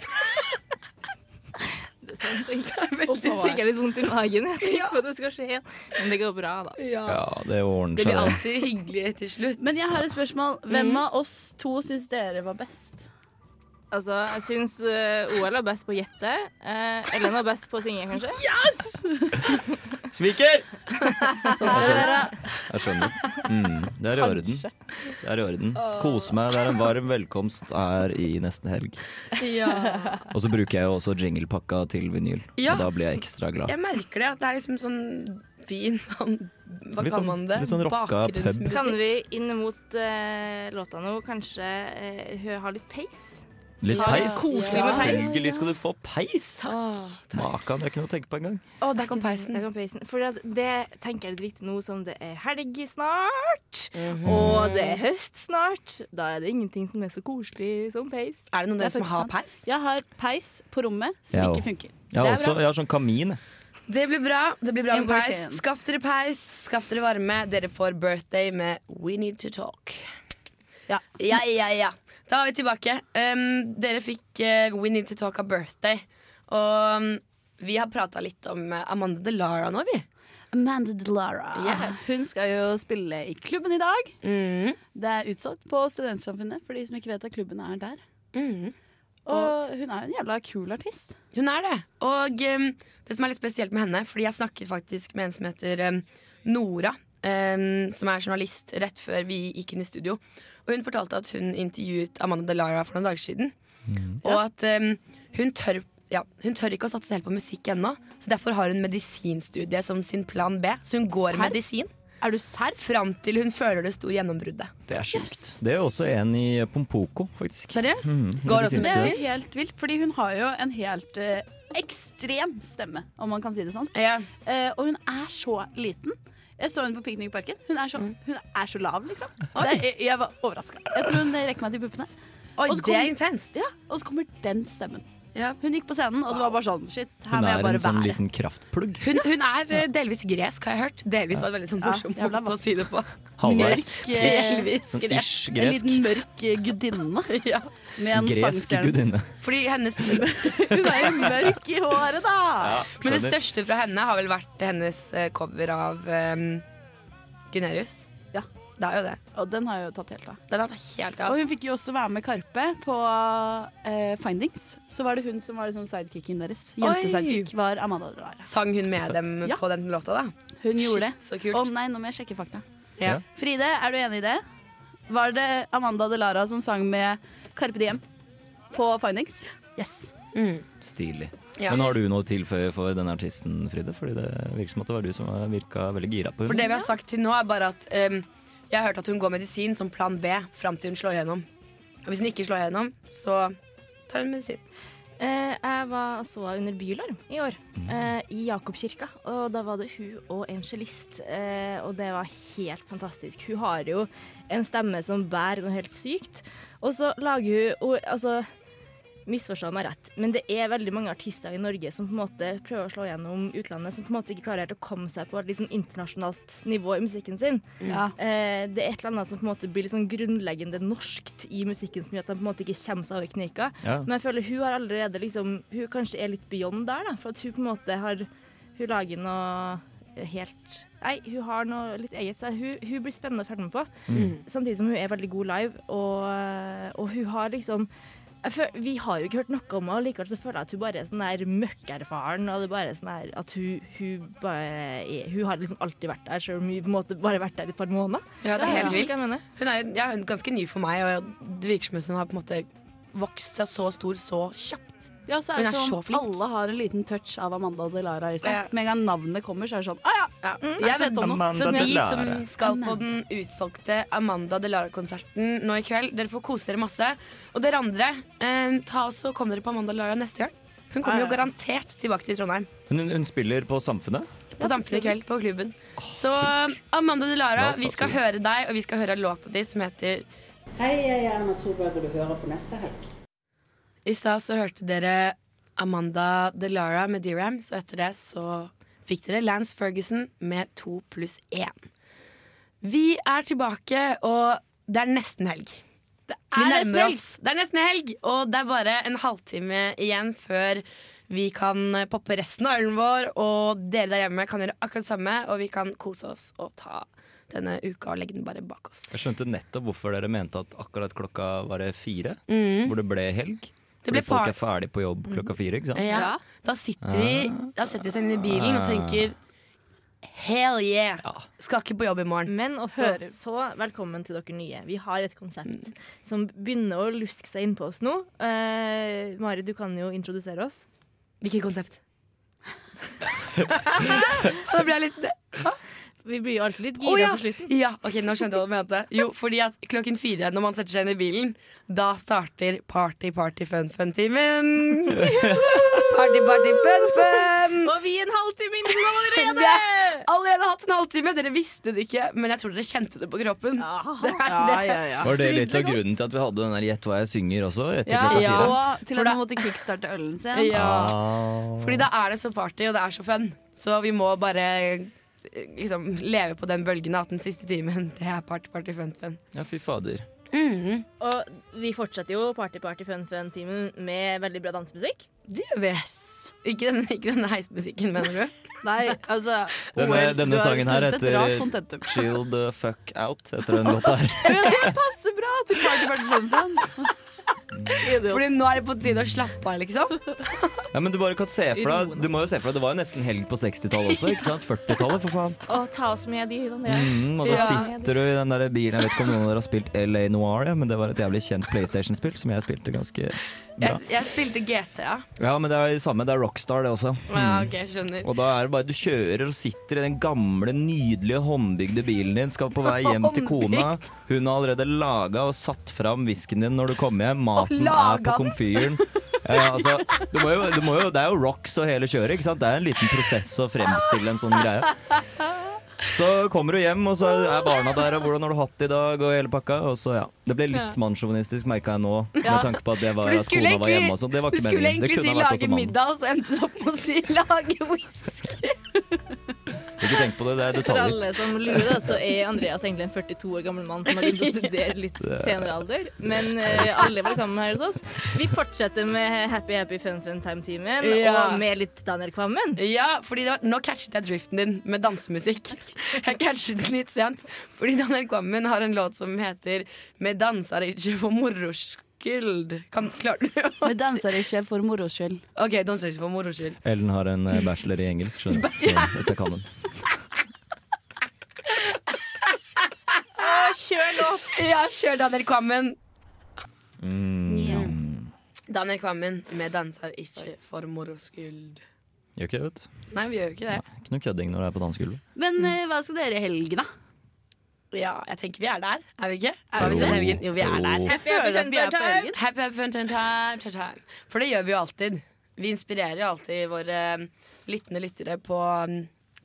Speaker 4: Det er sant, egentlig.
Speaker 3: veldig
Speaker 4: Uff,
Speaker 3: sant.
Speaker 4: fikk jeg litt vondt i magen. Jeg tenker på at det skal skje igjen. Men det går bra, da.
Speaker 6: ja, det ordner
Speaker 3: Det
Speaker 6: seg,
Speaker 3: blir
Speaker 6: det.
Speaker 3: alltid hyggelig til slutt.
Speaker 7: Men jeg har et spørsmål. Hvem av oss to syns dere var best?
Speaker 4: Altså, jeg syns eh, OL var best på å gjette. Eh, Ellen var best på å synge, kanskje.
Speaker 7: Yes!
Speaker 6: Sviker!
Speaker 7: Sånn skal det være.
Speaker 6: Jeg skjønner. Mm, det er i orden.
Speaker 7: Kanskje.
Speaker 6: Det er i orden. Kose meg. Det er en varm velkomst her i nesten helg.
Speaker 3: Ja.
Speaker 6: Og så bruker jeg jo også jinglepakka til vinyl.
Speaker 3: Ja.
Speaker 6: Og da blir jeg ekstra glad.
Speaker 3: Jeg merker det, at det er liksom sånn fin sånn Hva
Speaker 6: Litt
Speaker 3: kan
Speaker 6: sånn-
Speaker 3: man det?
Speaker 6: litt sånn rocka pub.
Speaker 3: Bakgrunnsmusikk.
Speaker 4: Kan vi inn mot eh, låta nå kanskje eh, hø- ha litt pace?
Speaker 6: Litt
Speaker 4: Ha
Speaker 6: peis.
Speaker 4: Koselig med peis.
Speaker 6: Selvfølgelig skal du få peis!
Speaker 4: Åh,
Speaker 6: Makan, det er ikke noe å tenke på engang.
Speaker 4: Å, der kom peisen. For at det tenker jeg er litt viktig nå som det er helg snart, og det er høst snart. Da er det ingenting som er så koselig som peis.
Speaker 3: Er det noen
Speaker 7: Det er faktisk sant. Jeg har peis på rommet som
Speaker 6: Jeg
Speaker 7: ikke
Speaker 6: også.
Speaker 7: funker.
Speaker 6: Jeg har, også, jeg har sånn kamin. jeg.
Speaker 3: Det blir bra. Det blir bra med
Speaker 7: Import
Speaker 3: peis.
Speaker 7: in.
Speaker 3: Skaff dere peis, skaff dere varme. Dere får birthday med We Need To Talk.
Speaker 7: Ja,
Speaker 3: ja, ja. Da er vi tilbake. Um, dere fikk eh, We Need To Talk av birthday. Og um, vi har prata litt om eh, Amanda Delara nå, vi.
Speaker 7: Amanda Delara.
Speaker 3: Yes.
Speaker 7: Hun skal jo spille i klubben i dag. Det er utsolgt på Studentsamfunnet, for de som ikke vet at klubben er der.
Speaker 3: Mm.
Speaker 7: Og hun er jo en jævla kul artist.
Speaker 3: Hun er det. Og um, det som er litt spesielt med henne, fordi jeg snakket faktisk med en som heter um, Nora, um, som er journalist, rett før vi gikk inn i studio. Og hun fortalte at hun intervjuet Amanda Delara for noen dager siden. Og at um, hun tør ja, hun tør ikke å satse helt på musikk ennå, så derfor har hun medisinstudiet som sin plan B. Så hun går
Speaker 7: Serr?
Speaker 3: medisin fram til hun føler det store gjennombruddet.
Speaker 6: Det er sjukt. Det er jo også en i Pompoko, faktisk.
Speaker 3: Seriøst?
Speaker 6: Mhm,
Speaker 3: Går også
Speaker 6: medisinstudent.
Speaker 7: Det er jo helt vilt, fordi hun har jo en helt eh, ekstrem stemme, om man kan si det sånn. Eh, og hun er så liten. Jeg så henne på Piknikparken. Hun, er så- hun er så lav, liksom. Det, jeg, jeg var overraska. Jeg tror hun rekker meg til puppene.
Speaker 3: Oi,
Speaker 7: Og så
Speaker 3: det er
Speaker 7: kom-
Speaker 3: intenst.
Speaker 7: Ja, og så kommer den stemmen. Hun gikk på scenen, og det var bare sånn Shit, her
Speaker 6: Hun
Speaker 7: må jeg
Speaker 6: er
Speaker 7: bare
Speaker 6: en sånn
Speaker 7: være.
Speaker 6: liten kraftplugg.
Speaker 3: Hun, hun er eh, delvis gresk, har jeg hørt. Delvis var det veldig sånn morsomt måte å si det på.
Speaker 6: Halvveis.
Speaker 7: Mørk, eh,
Speaker 3: Delvis
Speaker 6: Sånn
Speaker 3: gresk.
Speaker 6: ish
Speaker 7: En
Speaker 6: gresk.
Speaker 7: liten mørk eh, gudinne med en
Speaker 6: Gresk
Speaker 7: sangstjerne.
Speaker 6: gudinne.
Speaker 3: Fordi hennes
Speaker 7: Hun er jo mørk i håret, da!
Speaker 6: Ja,
Speaker 3: Men det
Speaker 6: skjønner.
Speaker 3: største fra henne har vel vært hennes eh, cover av um, Gunerius.
Speaker 7: Ja.
Speaker 3: Det er jo det.
Speaker 7: Og den har jo tatt helt av.
Speaker 3: Den har tatt helt
Speaker 7: Og
Speaker 3: av.
Speaker 7: hun fikk jo også være med Karpe på eh, Findings. Så var det hun som var liksom sidekicken deres.
Speaker 3: Oi!
Speaker 7: Jentesidekick var Amanda Delara.
Speaker 3: Sang hun med dem
Speaker 7: Ja.
Speaker 3: på den låta, da?
Speaker 7: Hun gjorde
Speaker 3: Shit,
Speaker 7: det.
Speaker 3: Så kult.
Speaker 7: Å nei, nå må jeg sjekke fakta.
Speaker 3: Ja.
Speaker 7: Fride, er du enig i det? Var det Amanda Delara som sang med Karpe Diem på Findings? Yes.
Speaker 3: Mm.
Speaker 6: Stilig.
Speaker 7: Ja.
Speaker 6: Men har du noe å tilføye for denne artisten, Fride? Fordi det virker som at det var du som virka veldig gira på
Speaker 3: For det
Speaker 6: henne.
Speaker 3: vi har sagt til nå, er bare at um, jeg har hørt at hun går medisin som plan B fram til hun slår gjennom. Og hvis hun ikke slår gjennom, så tar hun medisin.
Speaker 4: Eh, jeg var og så henne under Bylarm i år, eh, i Jakobkirka. Og da var det hun og en cellist, eh, og det var helt fantastisk. Hun har jo en stemme som bærer noe helt sykt. Og så lager hun og, Altså, misforstå meg rett, men det er veldig mange artister i Norge som på en måte prøver å slå gjennom utlandet, som på en måte ikke klarer helt å komme seg på et litt sånn internasjonalt nivå i musikken sin.
Speaker 7: Ja.
Speaker 4: Eh, det er et eller annet som på en måte blir litt sånn grunnleggende norskt i musikken, som gjør at de på en måte ikke kommer seg over kneika.
Speaker 13: Ja.
Speaker 4: Men jeg føler hun har allerede liksom Hun kanskje er litt beyond der, da. For at hun på en måte har Hun lager noe helt Nei, hun har noe litt eget. Så hun, hun blir spennende å følge med på.
Speaker 13: Mm.
Speaker 4: Samtidig som hun er veldig god live, og, og hun har liksom jeg føl- vi har jo ikke hørt noe om henne, og likevel så føler jeg at hun bare er sånn der møkkerfaren. Og det er bare sånn der at hun, hun, bare er, hun har liksom alltid vært der, selv om hun på en måte bare har vært der i et par måneder.
Speaker 3: Ja, det er helt
Speaker 4: Skjønner du
Speaker 3: vilt.
Speaker 4: hva jeg mener?
Speaker 3: Hun er, jo- ja, hun er ganske ny for meg, og det virker som hun har på en måte vokst seg så stor så kjapt.
Speaker 7: Ja, så er
Speaker 3: Hun
Speaker 7: det
Speaker 3: er
Speaker 7: sånn
Speaker 3: så flink.
Speaker 7: Alle har en liten touch av Amanda Delara i seg.
Speaker 3: Ja.
Speaker 7: Med en gang navnet kommer, så er det sånn Å ja, jeg
Speaker 3: Altså,
Speaker 7: vet om noe.
Speaker 3: Så de som
Speaker 7: som
Speaker 3: skal på den utsolgte Amanda Delara-konserten nå i kveld, dere får kose dere masse. Og dere andre, eh, ta oss og kom dere på Amanda Delara neste gang. Hun kommer jo garantert tilbake til Trondheim
Speaker 6: Men hun, hun spiller på Samfunnet.
Speaker 3: på Samfunnet i kveld, på klubben. Så Amanda
Speaker 6: La
Speaker 3: Delara,
Speaker 6: oss ta
Speaker 3: vi skal
Speaker 6: turen.
Speaker 3: høre deg, og vi skal høre låta di som heter
Speaker 14: Hei, jeg er Erna Solberg, og du hører på Neste helg.
Speaker 3: I stad så hørte dere Amanda Delara med D-Ram, så etter det så fikk dere Lance Ferguson med to pluss én. Vi er tilbake, og det er nesten helg. vi
Speaker 7: er nesten
Speaker 3: nærmer
Speaker 7: helg.
Speaker 3: oss. Det er nesten helg, og det er bare en halvtime igjen før vi kan poppe resten av ølen vår, og dere der hjemme kan gjøre akkurat det samme, og vi kan kose oss og ta denne uka og legge den bare bak oss.
Speaker 6: Jeg skjønte nettopp hvorfor dere mente at akkurat klokka var det fire,
Speaker 3: Mhm.
Speaker 6: hvor det ble helg.
Speaker 3: Det ble
Speaker 6: Fordi folk
Speaker 3: par-
Speaker 6: er ferdig på jobb klokka fire, ikke sant?
Speaker 3: Ja. Da sitter vi Da setter vi seg inn i bilen og tenker Hell yeah! Skal ikke på jobb i morgen.
Speaker 4: Men også
Speaker 3: Hører.
Speaker 4: så velkommen til dere nye. Vi har et konsept som begynner å luske seg innpå oss nå. Eh, Mari, du kan jo introdusere oss.
Speaker 3: Hvilket konsept? da ble jeg litt Hæ?
Speaker 4: Vi blir jo alltid litt
Speaker 3: Å,
Speaker 4: gira
Speaker 3: ja.
Speaker 4: på slutten.
Speaker 3: Ja, ok, nå skjønte jeg hva du mente. Jo, fordi at klokken fire, når man setter seg inn i bilen, da starter party, party, fun, fun-timen. Party, party, fun, fun.
Speaker 4: Og vi er en halvtime inne
Speaker 3: Vi
Speaker 4: allerede!
Speaker 3: har allerede hatt en halvtime. Dere visste det ikke, men jeg tror dere kjente det på kroppen. Det er det.
Speaker 6: Var det litt av grunnen til at vi hadde den der 'Gjett hva jeg synger' også? Etter
Speaker 3: Ja,
Speaker 6: klokka
Speaker 3: ja.
Speaker 6: fire?
Speaker 3: Og
Speaker 7: til at man måtte kickstarte ølen sin.
Speaker 3: Ja.
Speaker 6: Ah.
Speaker 3: Fordi da er det så party, og det er så fun. Så vi må bare eh, liksom leve på den bølgen at den siste timen, det er party, party, fun, fun.
Speaker 6: Ja, fy fader.
Speaker 3: Mhm.
Speaker 4: Og vi fortsetter jo Party Party Fun Fun-timen med veldig bra dansemusikk.
Speaker 3: Det Yes. Ikke den, ikke den heismusikken, mener du?
Speaker 7: Nei, altså
Speaker 6: Denne,
Speaker 7: OL, du
Speaker 6: denne
Speaker 7: har
Speaker 6: sangen her
Speaker 7: funnet et
Speaker 6: heter
Speaker 7: rart kontentum.
Speaker 6: Chill the fuck out etter den låta her.
Speaker 7: Men det passer bra til party, party, fun, fun.
Speaker 3: Fordi nå er det på tide å slappe av, liksom.
Speaker 6: Ja, men du bare kan se for deg Du må jo se for deg, det var jo nesten helg på 60-tallet også, ikke sant? 40-tallet, for faen.
Speaker 4: Og ta oss med de Daniel.
Speaker 6: Mm, og da
Speaker 4: Ja.
Speaker 6: sitter du i den der bilen Jeg vet ikke om noen av dere har spilt LA Noir, ja, men det var et jævlig kjent PlayStation-spill som jeg spilte ganske bra.
Speaker 3: Jeg, jeg spilte GTA.
Speaker 6: Ja, men det er det samme. Det er Rockstar, det også.
Speaker 3: Ja,
Speaker 6: Mm.
Speaker 3: ok, skjønner.
Speaker 6: Og da er det bare du kjører og sitter i den gamle, nydelige håndbygde bilen din, skal på vei hjem til kona. Hun har allerede laga og satt fram whiskyen din når du kommer hjem. Maten er
Speaker 3: laga
Speaker 6: på komfyren. Ja, altså, du må jo, du må jo, det er jo rocks og hele kjøret, ikke sant? Det er en liten prosess å fremstille en sånn greie. Så kommer du hjem, og så er barna der, og hvordan har du hatt det i dag, og hele pakka. Og så, ja. Det ble litt mannssjåvinistisk, merka jeg nå, med
Speaker 3: Ja.
Speaker 6: tanke på at, det var,
Speaker 3: For du
Speaker 6: at
Speaker 3: skulle
Speaker 6: kona var
Speaker 3: egentlig-
Speaker 6: hjemme og sånn. Det var
Speaker 3: Du
Speaker 6: ikke
Speaker 3: skulle
Speaker 6: meningen. Det
Speaker 3: egentlig si
Speaker 6: kunne ha vært
Speaker 3: lage
Speaker 6: også mannen.
Speaker 3: middag, og så endte du opp med å si lage whisky.
Speaker 6: Ikke tenk på det, det er
Speaker 4: For
Speaker 6: detaljer.
Speaker 4: alle som lurer, da, så er Andreas egentlig en 42 år gammel mann som har begynt å studere litt senere alder. Men eh, alle er velkommen her hos oss. Vi fortsetter med Happy Happy Fun Fun Time-timen,
Speaker 3: Ja.
Speaker 4: og med litt Daniel Kvammen.
Speaker 3: Ja, fordi det var, nå catchet jeg driften din med dansemusikk. Jeg catchet den litt sent, fordi Daniel Kvammen har en låt som heter 'Med danser ikke for moro skyld'. Kan, klarte du å
Speaker 7: Vi danser ikke for moro skyld.
Speaker 3: OK, danser ikke for moro skyld.
Speaker 6: Ellen har en eh, bachelor i engelsk, skjønner du. Så dette kan hun.
Speaker 4: Kjør låt!
Speaker 3: Ja, kjør Daniel Kvammen.
Speaker 6: Mm.
Speaker 3: Daniel Kvammen med 'Danser ikke for moro skyld'.
Speaker 6: Gjør ikke det, vet du.
Speaker 3: Nei, vi gjør jo ikke det.
Speaker 6: Ikke noe kødding når du er på dansegulvet.
Speaker 7: Men eh, hva skal dere i helgen, da?
Speaker 3: Ja, jeg tenker vi er der, er vi ikke?
Speaker 6: Er
Speaker 3: Har vi
Speaker 6: vi
Speaker 3: sett
Speaker 6: det?
Speaker 3: helgen? Jo, vi er
Speaker 6: Jo.
Speaker 3: der.
Speaker 6: Happy,
Speaker 3: Jeg
Speaker 7: happy
Speaker 3: føler at vi er
Speaker 7: fun
Speaker 3: på
Speaker 7: time.
Speaker 3: helgen. Happy, happy fun time, time, time, time. For det gjør vi jo alltid. Vi inspirerer jo alltid våre um, lyttende lyttere på, um,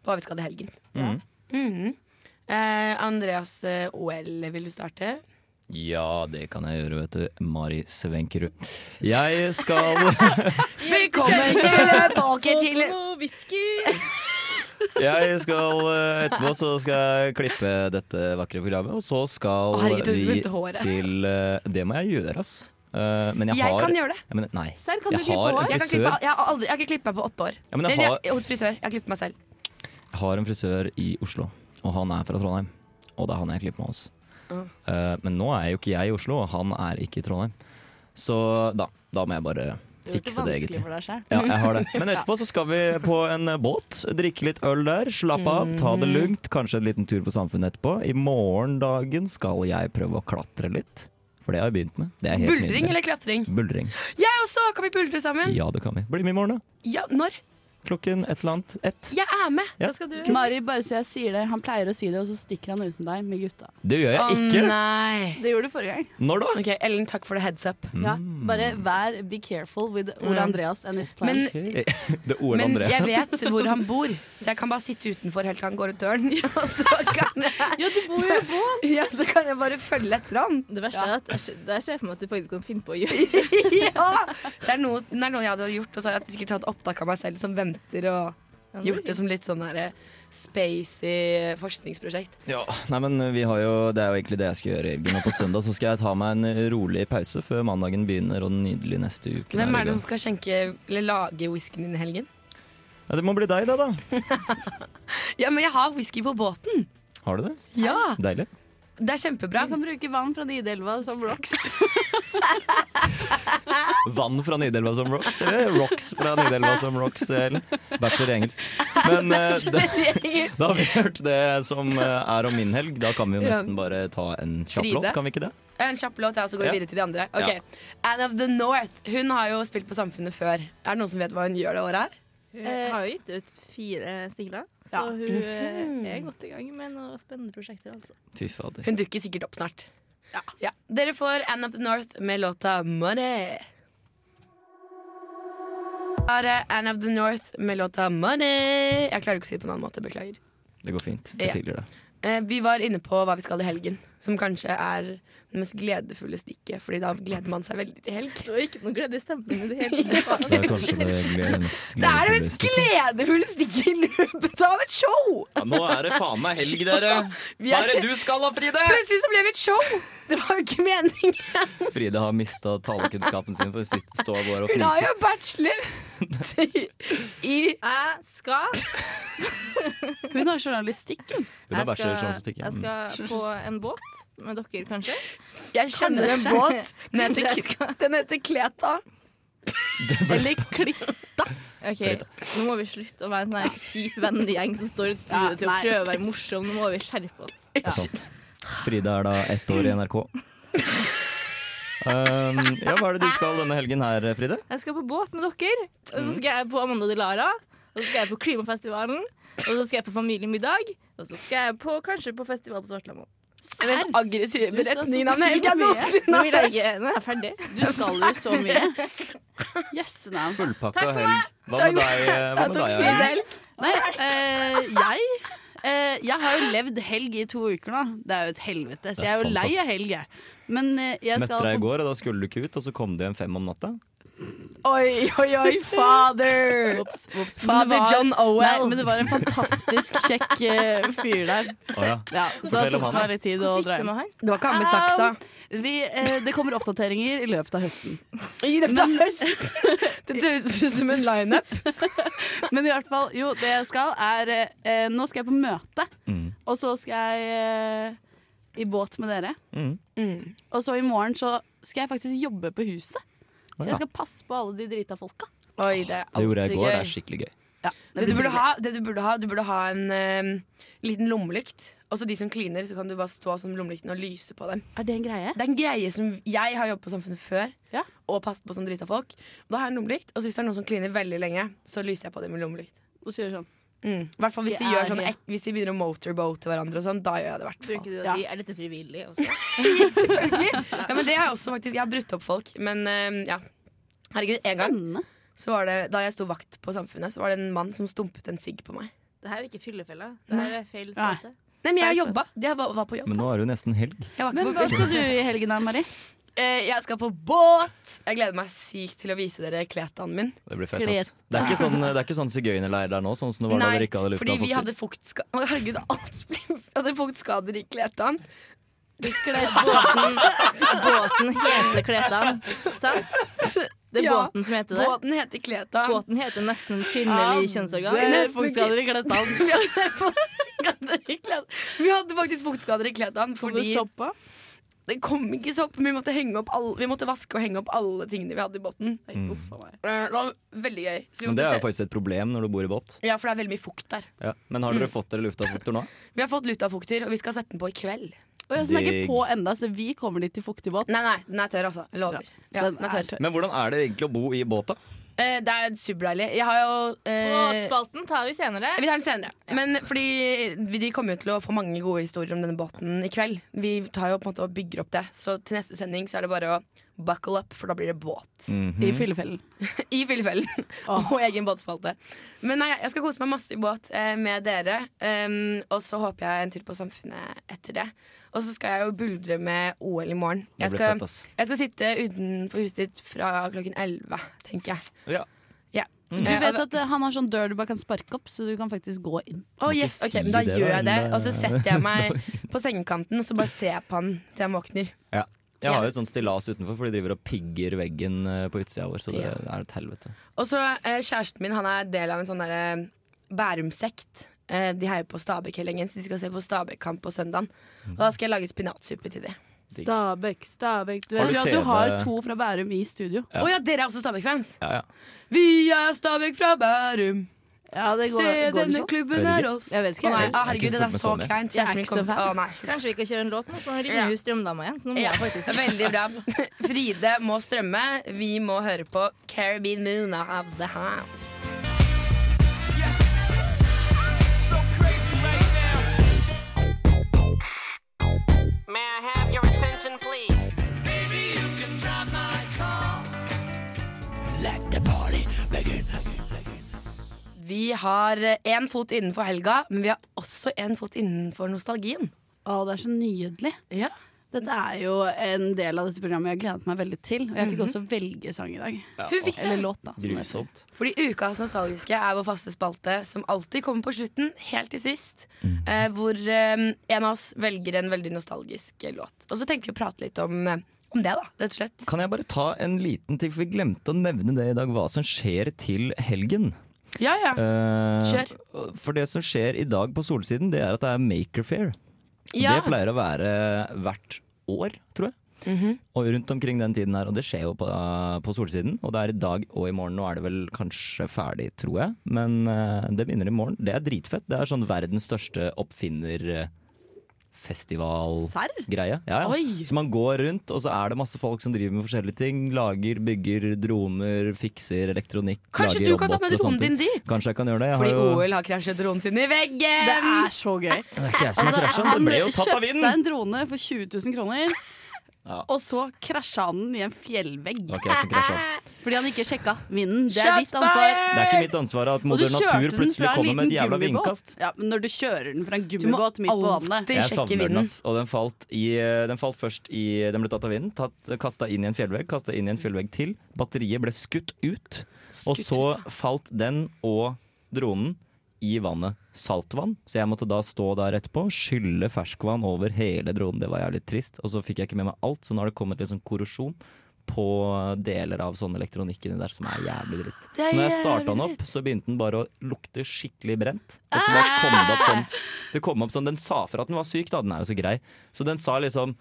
Speaker 3: på hva vi skal i helgen.
Speaker 6: Mm.
Speaker 3: Mhm. Eh, Andreas eh, OL, vil du starte?
Speaker 6: Ja, det kan jeg gjøre, vet du. Mari Svenkerud. Jeg skal
Speaker 3: Velkommen tilbake til
Speaker 4: whisky!
Speaker 6: Jeg skal eh, Etterpå så skal jeg klippe dette vakre programmet, og så skal
Speaker 3: Å, herregud, du
Speaker 6: vi
Speaker 3: vent håret.
Speaker 6: til eh, Det må jeg gjøre, ass. Eh, men jeg,
Speaker 3: Jeg
Speaker 6: har
Speaker 3: kan gjøre det.
Speaker 6: Ja, men, nei.
Speaker 3: Serr, Sånn, kan
Speaker 6: jeg
Speaker 3: du klippe
Speaker 6: har
Speaker 3: hår?
Speaker 6: en
Speaker 3: Jeg, kan
Speaker 6: frisør.
Speaker 3: klippe, jeg, har aldri, jeg har ikke klippet meg på åtte år.
Speaker 6: Ja, men jeg
Speaker 3: Eller,
Speaker 6: har-
Speaker 3: jeg, hos frisør. Jeg har klippet meg selv.
Speaker 6: har en frisør i Oslo, og han er fra Trondheim. Og det er han jeg klipper med hos.
Speaker 3: Ja.
Speaker 6: Eh, men nå er jo ikke jeg i Oslo, og han er ikke i Trondheim. Så da, da må jeg bare
Speaker 7: Du gjør det
Speaker 6: fikse det,
Speaker 7: vanskelig
Speaker 6: egentlig.
Speaker 7: for deg selv.
Speaker 6: Ja, jeg har det. Men etterpå så skal vi på en eh, båt, drikke litt øl der, slappe av, ta
Speaker 3: Mm.
Speaker 6: det lugnt. Kanskje en liten tur på Samfunnet etterpå. I morgendagen skal jeg prøve å klatre litt, for det har jeg begynt med. Det er helt
Speaker 3: Buldring
Speaker 6: nydelig.
Speaker 3: eller klatring?
Speaker 6: Buldring.
Speaker 3: Jeg også! Kan vi buldre sammen?
Speaker 6: Ja, det kan vi. Bli med i morgen, da.
Speaker 3: Ja, når?
Speaker 6: Klokken et eller annet. Ett.
Speaker 3: Jeg er med!
Speaker 6: Ja.
Speaker 7: Mari, bare så jeg sier det. Han pleier å si det, og så stikker han uten deg med gutta.
Speaker 6: Det gjør jeg ikke.
Speaker 3: nei.
Speaker 7: Det gjorde du forrige gang.
Speaker 6: Når da?
Speaker 3: Ok, Ellen, takk for det heads up.
Speaker 7: Ja,
Speaker 6: Mm.
Speaker 7: bare vær be careful with Ole
Speaker 3: Mm.
Speaker 7: Andreas and his plans.
Speaker 6: Ok. det er Ole
Speaker 3: Men
Speaker 6: André.
Speaker 3: jeg vet hvor han bor, så jeg kan bare sitte utenfor helt til han går ut døren. Og så kan jeg,
Speaker 7: ja, du bor jo i båt!
Speaker 3: Ja, så kan jeg bare følge etter han.
Speaker 4: Det verste er at jeg- det er ser jeg for meg at du faktisk kan finne på å gjøre.
Speaker 3: ja! Det er, noe, det er noe jeg hadde gjort, og så har jeg sikkert hatt opptak av meg selv som venter, og gjort det som litt sånn der spacey forskningsprosjekt.
Speaker 6: Ja, nei, men eh, vi har jo, Det er jo egentlig det jeg skal gjøre i helgen. Og på søndag så skal jeg ta meg en eh, rolig pause før mandagen begynner, og den nydelige neste uke.
Speaker 3: Hvem
Speaker 6: her i
Speaker 3: er det
Speaker 6: gang.
Speaker 3: som skal skjenke eller lage whiskyen din i helgen?
Speaker 6: ja, Det må bli deg, det, da.
Speaker 3: Ja, men jeg har whisky på båten!
Speaker 6: Har du det?
Speaker 3: Ja!
Speaker 6: Deilig.
Speaker 3: Det er kjempebra.
Speaker 7: Du kan bruke vann fra Nidelva som rocks.
Speaker 6: Vann fra Nidelva som rocks, eller rocks fra Nidelva som rocks? Eller? Bachelor i engelsk. Men eh, da, da har vi hørt det som eh, er om min helg. Da kan vi jo
Speaker 3: Ja.
Speaker 6: nesten bare ta en kjapp låt,
Speaker 3: Fride?
Speaker 6: kan vi ikke det?
Speaker 3: En kjapp låt, ja, så går vi
Speaker 6: Ja.
Speaker 3: videre til de andre. Ok,
Speaker 6: Ja.
Speaker 3: Anne of the North. Hun har jo spilt på Samfunnet før. Er det noen som vet hva hun gjør det året her?
Speaker 15: Hun har jo gitt ut fire singler, så
Speaker 3: Ja.
Speaker 15: hun eh,
Speaker 3: Mhm.
Speaker 15: er godt i gang med noen spennende prosjekter. altså.
Speaker 6: Fy fader.
Speaker 3: Hun dukker sikkert opp snart. Ja. Dere får Anne of the North med låta Money. Her er Anne of the North med låta Money. Jeg klarer ikke å si det på en annen måte. Beklager.
Speaker 6: Det går fint.
Speaker 3: Ja.
Speaker 6: Jeg tilgir det.
Speaker 3: Eh, Vi var inne på hva vi skal i helgen, som kanskje er det mest gledefulle stikket. Fordi da gleder man seg veldig til helg. Det var ikke noe glede i stemmen i det hele tatt.
Speaker 6: Det er kanskje det gle- mest
Speaker 3: Det er det
Speaker 6: gledefulle
Speaker 3: mest
Speaker 6: stikket.
Speaker 3: gledefulle stikket i løpet av et show!
Speaker 6: Ja, nå er det faen meg helg, dere!
Speaker 3: Vi
Speaker 6: Hva er det du skal da, Fride?
Speaker 3: Plutselig så ble vi et show! Det var jo ikke meningen.
Speaker 6: Fride har mista talekunnskapen sin for å sitte- stå vår og
Speaker 3: Hun har jo
Speaker 6: fnise.
Speaker 3: bachelor i
Speaker 15: Jeg skal
Speaker 7: Hun har journalistikk, hun.
Speaker 6: Hun har bachelor i journalistikk, ja.
Speaker 15: Jeg skal på en båt med dere, kanskje.
Speaker 3: Jeg kjenner en
Speaker 15: Kanskje.
Speaker 3: båt. Den heter
Speaker 15: Kanskje jeg
Speaker 3: K-
Speaker 15: skal-
Speaker 3: Den heter Kleta.
Speaker 15: Eller Klitta. Ok, Nå må vi slutte å være en sånn her kjip vennegjeng som står i et studio
Speaker 7: Ja,
Speaker 15: til å
Speaker 7: nei.
Speaker 15: prøve å være morsom. Nå må vi skjerpe oss.
Speaker 6: Det er sant. Frida er da ett år i NRK. Um, ja, hva er det du skal denne helgen her, Fride?
Speaker 15: Jeg skal på båt med dere, og så skal jeg på Amanda de Lara. Og så skal jeg på Klimafestivalen, og så skal jeg på familiemiddag, og så skal jeg på, kanskje på festival på Svartlamoen.
Speaker 3: Den mest aggressive
Speaker 15: Du skal så
Speaker 3: beretningen av en helg
Speaker 15: sykt
Speaker 3: jeg
Speaker 15: mye.
Speaker 3: noensinne
Speaker 15: Nå
Speaker 3: har
Speaker 15: vil jeg
Speaker 3: hørt.
Speaker 15: ikke, nå er jeg ferdig.
Speaker 7: Du skal jo så mye. Jøsse navn.
Speaker 6: Fullpakka helg. Hva med deg, hva med deg Arild?
Speaker 7: Nei, eh, jeg eh, Jeg har jo levd helg i to uker nå. Det er jo et helvete,
Speaker 6: Det
Speaker 7: så
Speaker 6: er
Speaker 7: jeg er jo
Speaker 6: sant,
Speaker 7: lei
Speaker 6: ass.
Speaker 7: av helg, jeg. Men eh, jeg
Speaker 6: Møtte
Speaker 7: skal
Speaker 6: deg i
Speaker 7: på
Speaker 6: går, og da skulle du ikke ut, og så kom du hjem fem om natta.
Speaker 3: Oi, oi, oi, father!
Speaker 7: Men det
Speaker 3: Father
Speaker 7: var-
Speaker 3: John Owell.
Speaker 7: Nei, men det var en fantastisk kjekk eh, fyr der.
Speaker 6: Å ja.
Speaker 7: Ja, så
Speaker 6: Fortell
Speaker 7: det
Speaker 6: om
Speaker 7: tok
Speaker 6: han,
Speaker 7: meg
Speaker 6: da.
Speaker 7: litt tid å
Speaker 3: Hvordan gikk
Speaker 7: dra
Speaker 3: det med
Speaker 7: hjem.
Speaker 3: han? Det var ikke han med saksa.
Speaker 7: Um, vi, eh, det kommer oppdateringer i løpet av høsten.
Speaker 3: I løpet av høsten? Det høres ut som en lineup.
Speaker 7: Men i hvert fall, jo, det jeg skal er eh, Nå skal jeg på møte,
Speaker 6: Mm.
Speaker 7: og så skal jeg eh, i båt med dere.
Speaker 6: Mm.
Speaker 7: Og så i morgen så skal jeg faktisk jobbe på huset.
Speaker 6: Å,
Speaker 7: Så
Speaker 6: ja.
Speaker 7: jeg skal passe på alle de drita folka.
Speaker 3: Oi, det er
Speaker 6: Det gjorde jeg i
Speaker 3: alltid
Speaker 6: går. Det
Speaker 3: gøy.
Speaker 6: er skikkelig gøy.
Speaker 3: Det du burde ha, det du burde ha, du burde ha en eh, liten lommelykt. Og så de som kliner, så kan du bare stå som lommelykten og lyse på dem.
Speaker 7: Er det en greie?
Speaker 3: Det er en greie som Jeg har jobbet på Samfunnet før og passet på som drita folk. Og da har jeg en lommelykt, og så hvis det er noen som kliner veldig lenge, så lyser jeg på dem med lommelykt.
Speaker 7: Og så gjør sånn.
Speaker 3: Mm. I hvert fall hvis
Speaker 7: Det
Speaker 3: de, gjør
Speaker 7: er
Speaker 3: sånn,
Speaker 7: det.
Speaker 3: ek- hvis de begynner å motorboate hverandre og sånn, da gjør jeg det i hvert fall.
Speaker 15: Bruker du å si 'er dette frivillig'? Også?
Speaker 3: Ja, men det har jeg også faktisk. Jeg har brutt opp folk. Men eh, ja. Herregud, en gang så var det, da jeg sto vakt på Samfunnet, så var det en mann som stumpet en sigg på meg.
Speaker 15: Det her er ikke fyllefella. Det her er feil spalte.
Speaker 3: Nei, men jeg har jobba. Jeg var, var på jobb.
Speaker 6: Men nå er det jo nesten helg.
Speaker 3: Jeg var ikke
Speaker 7: Men
Speaker 3: på
Speaker 7: hva
Speaker 3: bussen.
Speaker 7: skal du i helgen da, Mari?
Speaker 3: Eh, jeg skal på båt! Jeg gleder meg sykt til å vise dere kletaen min.
Speaker 6: Det blir fett, ass. Det er ikke sånn, det er ikke sånn sigøynerleir der nå, sånn som det var da dere ikke hadde lufta
Speaker 3: fordi vi hadde fuktskader Å, Herregud, alt blir vi hadde fuktskader i kletaen.
Speaker 15: Båten, båten heter Kletan, sant? Det er
Speaker 3: Ja,
Speaker 15: båten som heter det.
Speaker 3: Båten heter Kleta.
Speaker 15: Båten heter nesten kvinnelig kjønnsorgan.
Speaker 3: Det er nesten ikke- Vi hadde fuktskader i Kletaen. Vi hadde faktisk fuktskader i kletaen fordi Det kom ikke sopp, men vi måtte, henge opp alle, vi måtte vaske og henge opp alle tingene vi hadde i båten.
Speaker 6: Mm.
Speaker 3: Eh, Det var veldig gøy. Så vi
Speaker 6: Men det
Speaker 3: måtte
Speaker 6: er
Speaker 3: se-
Speaker 6: jo faktisk et problem når du bor i båt.
Speaker 3: Ja, for det er veldig mye fukt der.
Speaker 6: Ja. Men har dere
Speaker 3: Mm.
Speaker 6: fått dere luftavfukter nå?
Speaker 3: Vi har fått luftavfukter, og vi skal sette den på i kveld.
Speaker 7: Og jeg snakker
Speaker 6: Digg.
Speaker 7: på enda, så vi kommer dit i fuktig båt.
Speaker 3: Nei, nei, den er tørr, altså. Jeg lover. Ja, den er tørr.
Speaker 6: Men hvordan er det egentlig å bo i båt, da?
Speaker 3: Eh, det er superdeilig. Jeg har jo eh,
Speaker 15: Båtspalten tar vi senere.
Speaker 3: Vi tar den senere. Men fordi vi- de kommer jo til å få mange gode historier om denne båten i kveld. Vi tar jo på en måte og bygger opp det. Så til neste sending så er det bare å buckle up, for da blir det båt.
Speaker 7: Mhm. I fyllefellen.
Speaker 3: I fyllefellen. Og egen båtspalte. Men nei, jeg skal kose meg masse i båt eh, med dere. Um, og så håper jeg en tur på Samfunnet etter det. Og så skal jeg jo buldre med OL i morgen.
Speaker 6: Det
Speaker 3: Jeg
Speaker 6: blir
Speaker 3: skal,
Speaker 6: fett, ass.
Speaker 3: jeg skal sitte utenfor huset ditt fra klokken 11, tenker jeg.
Speaker 6: Ja.
Speaker 3: Ja.
Speaker 7: Du
Speaker 3: Eh,
Speaker 7: vet
Speaker 3: og-
Speaker 7: at eh, han har sånn dør du bare kan sparke opp, så du kan faktisk gå inn.
Speaker 3: Å, yes, ok, men Da gjør jeg det, og så setter jeg meg på sengekanten og så bare ser jeg på han til han våkner.
Speaker 6: Ja. Jeg har jo et sånt stillas utenfor, for de driver og pigger veggen eh, på utsida vår. Så det er et helvete.
Speaker 3: Og så eh, Kjæresten min han er del av en sånn derre Bærumsekt. Eh, de heier på Stabæk-helgen, så de skal se på Stabæk-kamp på søndagen. Og da skal jeg lage spinatsuppe til de.
Speaker 7: Stabæk, Stabæk Du
Speaker 3: Har du
Speaker 7: vet jo at du
Speaker 3: TV?
Speaker 7: har to fra Bærum i studio.
Speaker 3: Å ja, dere er også Stabæk-fans?
Speaker 6: Ja, ja.
Speaker 3: Vi er Stabæk fra Bærum.
Speaker 7: det
Speaker 3: Se,
Speaker 7: går- går det
Speaker 3: denne
Speaker 7: sånn?
Speaker 3: klubben
Speaker 7: Veldig.
Speaker 3: er oss.
Speaker 7: Jeg vet ikke,
Speaker 3: Å, nei.
Speaker 7: jeg-
Speaker 3: Å,
Speaker 7: jeg er ikke
Speaker 3: herregud, det er
Speaker 7: fullt med
Speaker 3: så
Speaker 7: sånn, jeg.
Speaker 3: kleint.
Speaker 7: Jeg er ikke så fan.
Speaker 3: Å, nei.
Speaker 4: Kanskje vi kan kjøre en låt nå, så nå ringer
Speaker 3: Ja.
Speaker 4: hun strømdama igjen. Så nå må
Speaker 3: Ja,
Speaker 4: jeg faktisk
Speaker 3: veldig bra. Fride må strømme. Vi må høre på Caribbean Moon of The Hands.
Speaker 16: May I have your attention, please? Baby, you can drive my car.
Speaker 17: Let the party begin.
Speaker 3: Vi har én fot innenfor helga, men vi har også én fot innenfor nostalgien.
Speaker 7: Å, det er så nydelig. Dette er jo en del av dette programmet jeg har gledet meg veldig til. Og jeg fikk
Speaker 3: Mhm.
Speaker 7: også velge sang i dag.
Speaker 3: Ja. Hun fikk det.
Speaker 7: Eller låt, da. som det heter.
Speaker 3: Fordi Ukas nostalgiske er vår faste spalte, som alltid kommer på slutten, helt til sist.
Speaker 6: Mm.
Speaker 3: Eh, hvor eh, en av oss velger en veldig nostalgisk eh, låt. Og så tenker vi å prate litt om, eh, om det, da, rett og slett.
Speaker 6: Kan jeg bare ta en liten ting, for vi glemte å nevne det i dag, hva som skjer til helgen.
Speaker 3: Ja, ja.
Speaker 6: Eh,
Speaker 3: Kjør.
Speaker 6: for det som skjer i dag på solsiden, det er at det er Makerfair.
Speaker 3: Ja.
Speaker 6: Det pleier å være hvert år, tror jeg.
Speaker 3: Mhm.
Speaker 6: Og rundt omkring den tiden her, og det skjer jo på, på solsiden. Og det er i dag og i morgen, nå er det vel kanskje ferdig, tror jeg. Men eh, det begynner i morgen. Det er dritfett. Det er sånn verdens største oppfinnerfestivalgreie. Ja, ja.
Speaker 18: Oi.
Speaker 6: Så man går rundt, og så er det masse folk som driver med forskjellige ting. Lager, bygger droner, fikser elektronikk.
Speaker 3: Kanskje
Speaker 6: lager
Speaker 3: du kan ta
Speaker 6: roboter
Speaker 3: med
Speaker 6: og sånne
Speaker 3: dronen din
Speaker 6: ting.
Speaker 3: dit?
Speaker 6: Kanskje jeg kan gjøre det. Jeg
Speaker 3: Fordi
Speaker 6: har jo...
Speaker 3: OL har krasjet dronen sin i veggen! Det
Speaker 7: er så gøy.
Speaker 6: Det er ikke jeg som har krasja, det
Speaker 7: Altså, han
Speaker 6: ble jo tatt av
Speaker 7: kjøpte seg
Speaker 6: vinden!
Speaker 7: en drone for 20 000 kroner,
Speaker 6: Ja.
Speaker 7: og så krasja han den i en fjellvegg.
Speaker 6: Det var ikke jeg som krasja.
Speaker 7: Fordi han ikke sjekka vinden. Det er
Speaker 6: Shots
Speaker 7: ditt ansvar.
Speaker 6: Det er ikke mitt ansvar at
Speaker 7: Og du
Speaker 6: moder
Speaker 7: kjørte
Speaker 6: natur
Speaker 7: den
Speaker 6: plutselig
Speaker 7: fra en
Speaker 6: kommer med et
Speaker 7: liten
Speaker 6: jævla
Speaker 7: gummibåt.
Speaker 6: vindkast.
Speaker 7: Ja, men når du kjører den fra en gummibåt midt på vannet
Speaker 6: Jeg savner den, altså. ass. Og den falt, i, den falt først i Den ble tatt av vinden, tatt- kasta inn i en fjellvegg, kasta inn i en fjellvegg til. Batteriet ble skutt ut. og så falt den og dronen i vannet. Saltvann. Så jeg måtte da stå der etterpå, skylle ferskvann over hele dronen. Det var jævlig trist. Og så fikk jeg ikke med meg alt, så nå har det kommet litt sånn korrosjon. På deler av sånn elektronikk inni der, som er jævlig dritt.
Speaker 18: Det er
Speaker 6: Så når jeg starta den
Speaker 18: jævlig
Speaker 6: opp, så begynte den bare å lukte skikkelig brent. Og så bare kom det opp sånn det kom opp sånn, Den sa fra at den var syk, da. Den er jo så grei. Så den sa liksom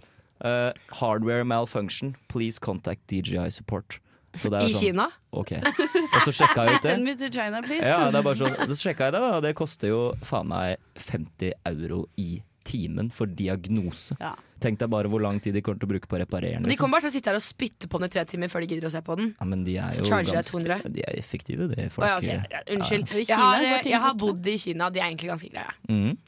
Speaker 6: eh, Hardware malfunction. Please contact DJI support. Så det er
Speaker 7: I
Speaker 6: sånn,
Speaker 7: Kina?
Speaker 6: Ok. Og så sjekka jeg ut det.
Speaker 7: Send me to China, please.
Speaker 6: Ja, det er bare sånn, så sjekka jeg det, da. og Det koster jo faen meg 50 euro i timen for diagnose. Tenk deg bare hvor lang tid de kommer til å bruke på å reparere den.
Speaker 3: De
Speaker 6: Liksom.
Speaker 3: kommer bare til å sitte her og spytte på den i tre timer før de gidder å se på den.
Speaker 6: Ja, men de er
Speaker 3: Så
Speaker 6: jo
Speaker 3: charger jeg
Speaker 6: ganske-
Speaker 3: 200.
Speaker 6: De er effektive, de
Speaker 3: Å,
Speaker 6: folk. eh,
Speaker 3: ja, ok. Ja, Unnskyld.
Speaker 6: Ja, ja.
Speaker 3: Jeg har, jeg har bodd i Kina, de er egentlig ganske greie.
Speaker 6: Mhm.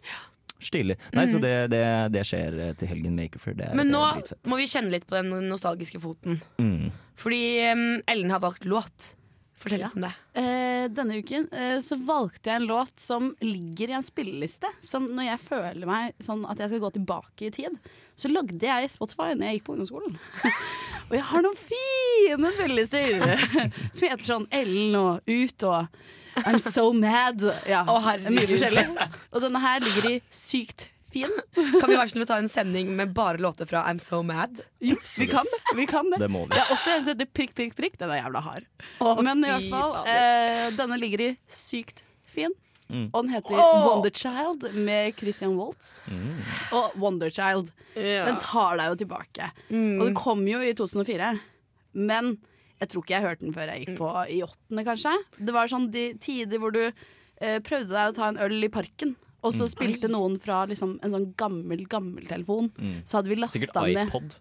Speaker 6: Stilig. Nei, så
Speaker 3: Mhm.
Speaker 6: det, det, det skjer eh, til helgen Makerfair. Det er,
Speaker 3: Men
Speaker 6: det
Speaker 3: nå
Speaker 6: er dritfett.
Speaker 3: må vi kjenne litt på den nostalgiske foten.
Speaker 6: Mm.
Speaker 3: Fordi em, Ellen har valgt låt. Fortell litt om det.
Speaker 7: Eh, denne uken eh, så valgte jeg en låt som ligger i en spilleliste. Som når jeg føler meg sånn at jeg skal gå tilbake i tid, så lagde jeg Spotify når jeg gikk på ungdomsskolen. og jeg har noen fine spillelister som heter sånn Ellen og Ut og I'm so mad. Ja, mye forskjellig. Og denne her ligger i sykt fin.
Speaker 3: Kan vi være snill å ta en sending med bare låter fra I'm So Mad?
Speaker 7: Jo, vi kan det. Vi kan det.
Speaker 3: Det må vi.
Speaker 7: Jeg har også en som heter prikk, prikk, prikk. Den er jævla hard. Men
Speaker 3: fy
Speaker 7: i hvert fall, eh,
Speaker 3: fader.
Speaker 7: denne ligger i sykt fin.
Speaker 6: Mm.
Speaker 7: Og den heter
Speaker 3: Åh!
Speaker 7: Wonderchild med Christian Waltz.
Speaker 6: Mm.
Speaker 7: Og Wonderchild.
Speaker 3: Ja.
Speaker 7: Den tar deg jo tilbake.
Speaker 3: Mm.
Speaker 7: Og det kom jo i 2004. Men jeg tror ikke jeg hørte den før jeg gikk på i åttende, kanskje. Det var sånn de tider hvor du eh, prøvde deg å ta en øl i parken. Og så
Speaker 6: Mm.
Speaker 7: spilte noen fra liksom, en sånn gammel gammel telefon.
Speaker 6: Mm.
Speaker 7: Så hadde vi lasta
Speaker 6: Sikkert
Speaker 7: ned
Speaker 6: iPod.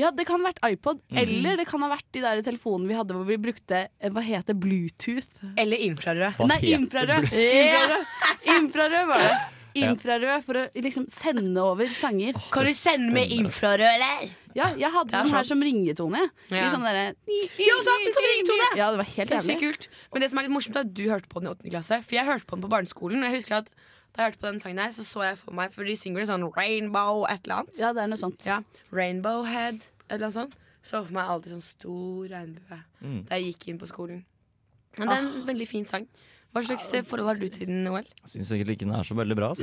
Speaker 7: ja, det kan ha vært iPod,
Speaker 6: Mhm.
Speaker 7: eller det kan ha vært de der telefonene vi hadde hvor vi brukte eh, hva heter Bluetooth?
Speaker 3: Eller infrarød.
Speaker 6: Hva
Speaker 7: Nei,
Speaker 6: heter
Speaker 7: infrarød!
Speaker 6: Bluetooth?
Speaker 7: Infrarød. infrarød var det.
Speaker 6: Ja.
Speaker 7: Infrarød for å liksom sende over sanger.
Speaker 3: Kan du sende med infrarød, eller?
Speaker 7: Ja, jeg
Speaker 3: er
Speaker 7: hadde den her
Speaker 3: sant.
Speaker 7: som ringetone.
Speaker 3: Ja.
Speaker 7: Ja. Liksom derre
Speaker 3: Ja, og så hadde den som ringetone!
Speaker 7: Ja, det var helt
Speaker 3: Det er sykt
Speaker 7: jævlig.
Speaker 3: kult. Men det som er litt morsomt, er at du hørte på den i åttende klasse. For jeg hørte på den på barneskolen. Og jeg husker at da jeg hørte på den sangen her, så så jeg for meg For de synger det sånn rainbow et eller annet.
Speaker 7: Ja, det er noe sånt.
Speaker 3: Ja. Rainbow head, et eller annet sånt. Så for meg alltid sånn stor regnbue
Speaker 6: Mm.
Speaker 3: da jeg gikk inn på skolen. Men det er en veldig fin sang. Hva slags eh, forhold har du til den, Noel?
Speaker 6: Jeg syns egentlig ikke den er så veldig bra. ass.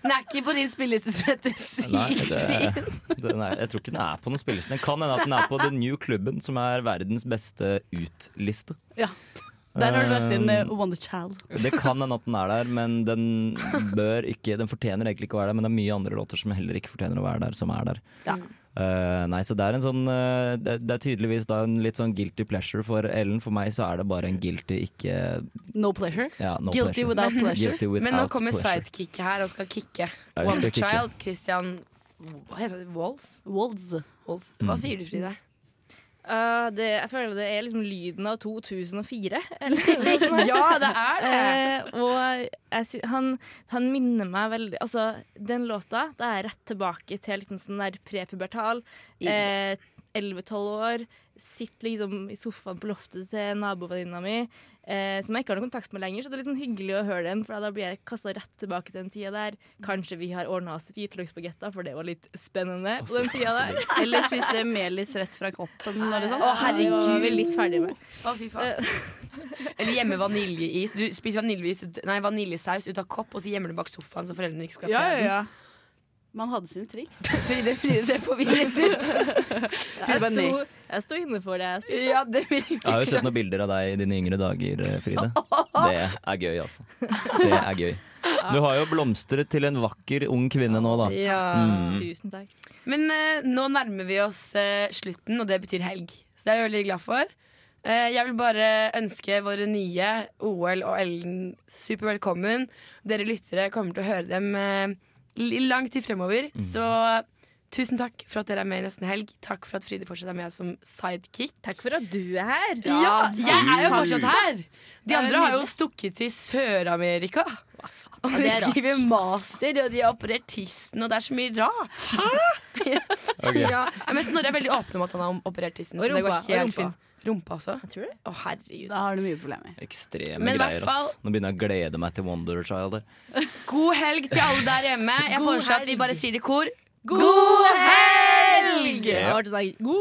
Speaker 3: Den er ikke på din spilleliste som heter
Speaker 6: Nei,
Speaker 3: Sykt fin.
Speaker 6: det, den er, jeg tror ikke den er på noen spilleliste. Den kan hende at den er på The New Klubben, som er verdens beste ut-liste.
Speaker 7: Ja. Der har du lagt inn
Speaker 6: Eh,
Speaker 7: eh, Wonder Child.
Speaker 6: Det kan hende at den er der, men den bør ikke Den fortjener egentlig ikke å være der, men det er mye andre låter som heller ikke fortjener å være der, som er der.
Speaker 7: Ja.
Speaker 6: Eh, nei, så det er en sånn eh, det, det er tydeligvis da en litt sånn guilty pleasure for Ellen. For meg så er det bare en guilty, ikke
Speaker 7: No pleasure.
Speaker 6: ja, no
Speaker 7: Guilty
Speaker 6: pleasure.
Speaker 7: without pleasure.
Speaker 6: Guilty
Speaker 7: Men
Speaker 6: without
Speaker 7: nå
Speaker 3: Kommer
Speaker 6: pleasure.
Speaker 3: sidekicket her og skal kicke.
Speaker 6: vi skal kicke.
Speaker 3: Wonderchild, Christian Hva heter det? Walls?
Speaker 7: Walls.
Speaker 3: Hva
Speaker 6: Mm.
Speaker 3: sier du, Frida?
Speaker 4: Ah, det, jeg føler det er liksom lyden av 2004. Eller, noe sånt.
Speaker 3: Ja, det er det.
Speaker 4: Eh, og jeg sy han, han minner meg veldig Altså, den låta, da er jeg rett tilbake til liksom sånn der prepubertal. Eh, 11-12 år. Sitter liksom i sofaen på loftet til nabovenninna mi, eh, som jeg ikke har noe kontakt med lenger. Så det er litt sånn hyggelig å høre den, for da blir jeg kasta rett tilbake til den tida der. Kanskje vi har ordna oss hvitløksbagetter, for det var litt spennende på den tida der.
Speaker 7: Eller spise melis rett fra koppen. Eller sånn.
Speaker 4: Å, herregud. Det var vi litt ferdig med.
Speaker 3: Å, fy faen. Eller gjemme vaniljeis. Du spiser vaniljeis, ut- nei, vaniljesaus ut av kopp, og så gjemmer du bak sofaen så foreldrene ikke skal
Speaker 7: Ja,
Speaker 3: se
Speaker 7: ja, ja. Man hadde sine triks.
Speaker 3: Fride, Fride ser forvirret ut.
Speaker 4: Jeg sto, jeg sto inne for det jeg spiste.
Speaker 3: Ja, det
Speaker 6: Jeg har jo sett noen bilder av deg i dine yngre dager, eh, Fride. Det er gøy, altså. Det er gøy. Du har jo blomstret til en vakker ung kvinne nå, da. Mm.
Speaker 4: Tusen takk.
Speaker 3: Men eh, nå nærmer vi oss eh, slutten, og det betyr helg. Så det er jeg veldig glad for. Eh, jeg vil bare ønske våre nye OL og Ellen super velkommen. Dere lyttere kommer til å høre dem eh, i lang tid fremover. Så tusen takk for at dere er med i Nesten helg. Takk for at Fride fortsatt er med som sidekick.
Speaker 4: Takk for at du er her.
Speaker 3: Ja, jeg er jo fortsatt her!
Speaker 4: Det
Speaker 3: De
Speaker 4: er
Speaker 3: andre har jo
Speaker 4: nydelig.
Speaker 3: stukket til Sør-Amerika. Og
Speaker 4: Ja,
Speaker 3: de
Speaker 4: det er rart.
Speaker 3: skriver master, og de har operert tissen, og det er så mye rart.
Speaker 4: Ok.
Speaker 3: ja. ja, men Snorre er veldig åpen om at han har operert tissen.
Speaker 4: Og
Speaker 3: så det går
Speaker 4: rumpa, og
Speaker 3: helt
Speaker 4: rumpa.
Speaker 3: fint. Rumpa også? Å, herregud. Da
Speaker 7: har du mye problemer.
Speaker 6: Ekstreme
Speaker 3: Men i hvert
Speaker 6: greier, ass.
Speaker 3: fall-
Speaker 6: Nå begynner jeg å glede meg til Wonder Child. der.
Speaker 3: God helg til alle der hjemme. Jeg
Speaker 4: God
Speaker 3: foreslår at vi
Speaker 4: helg.
Speaker 3: bare sier det i kor.
Speaker 4: God helg!
Speaker 3: helg!
Speaker 4: Jeg har vært sånn, God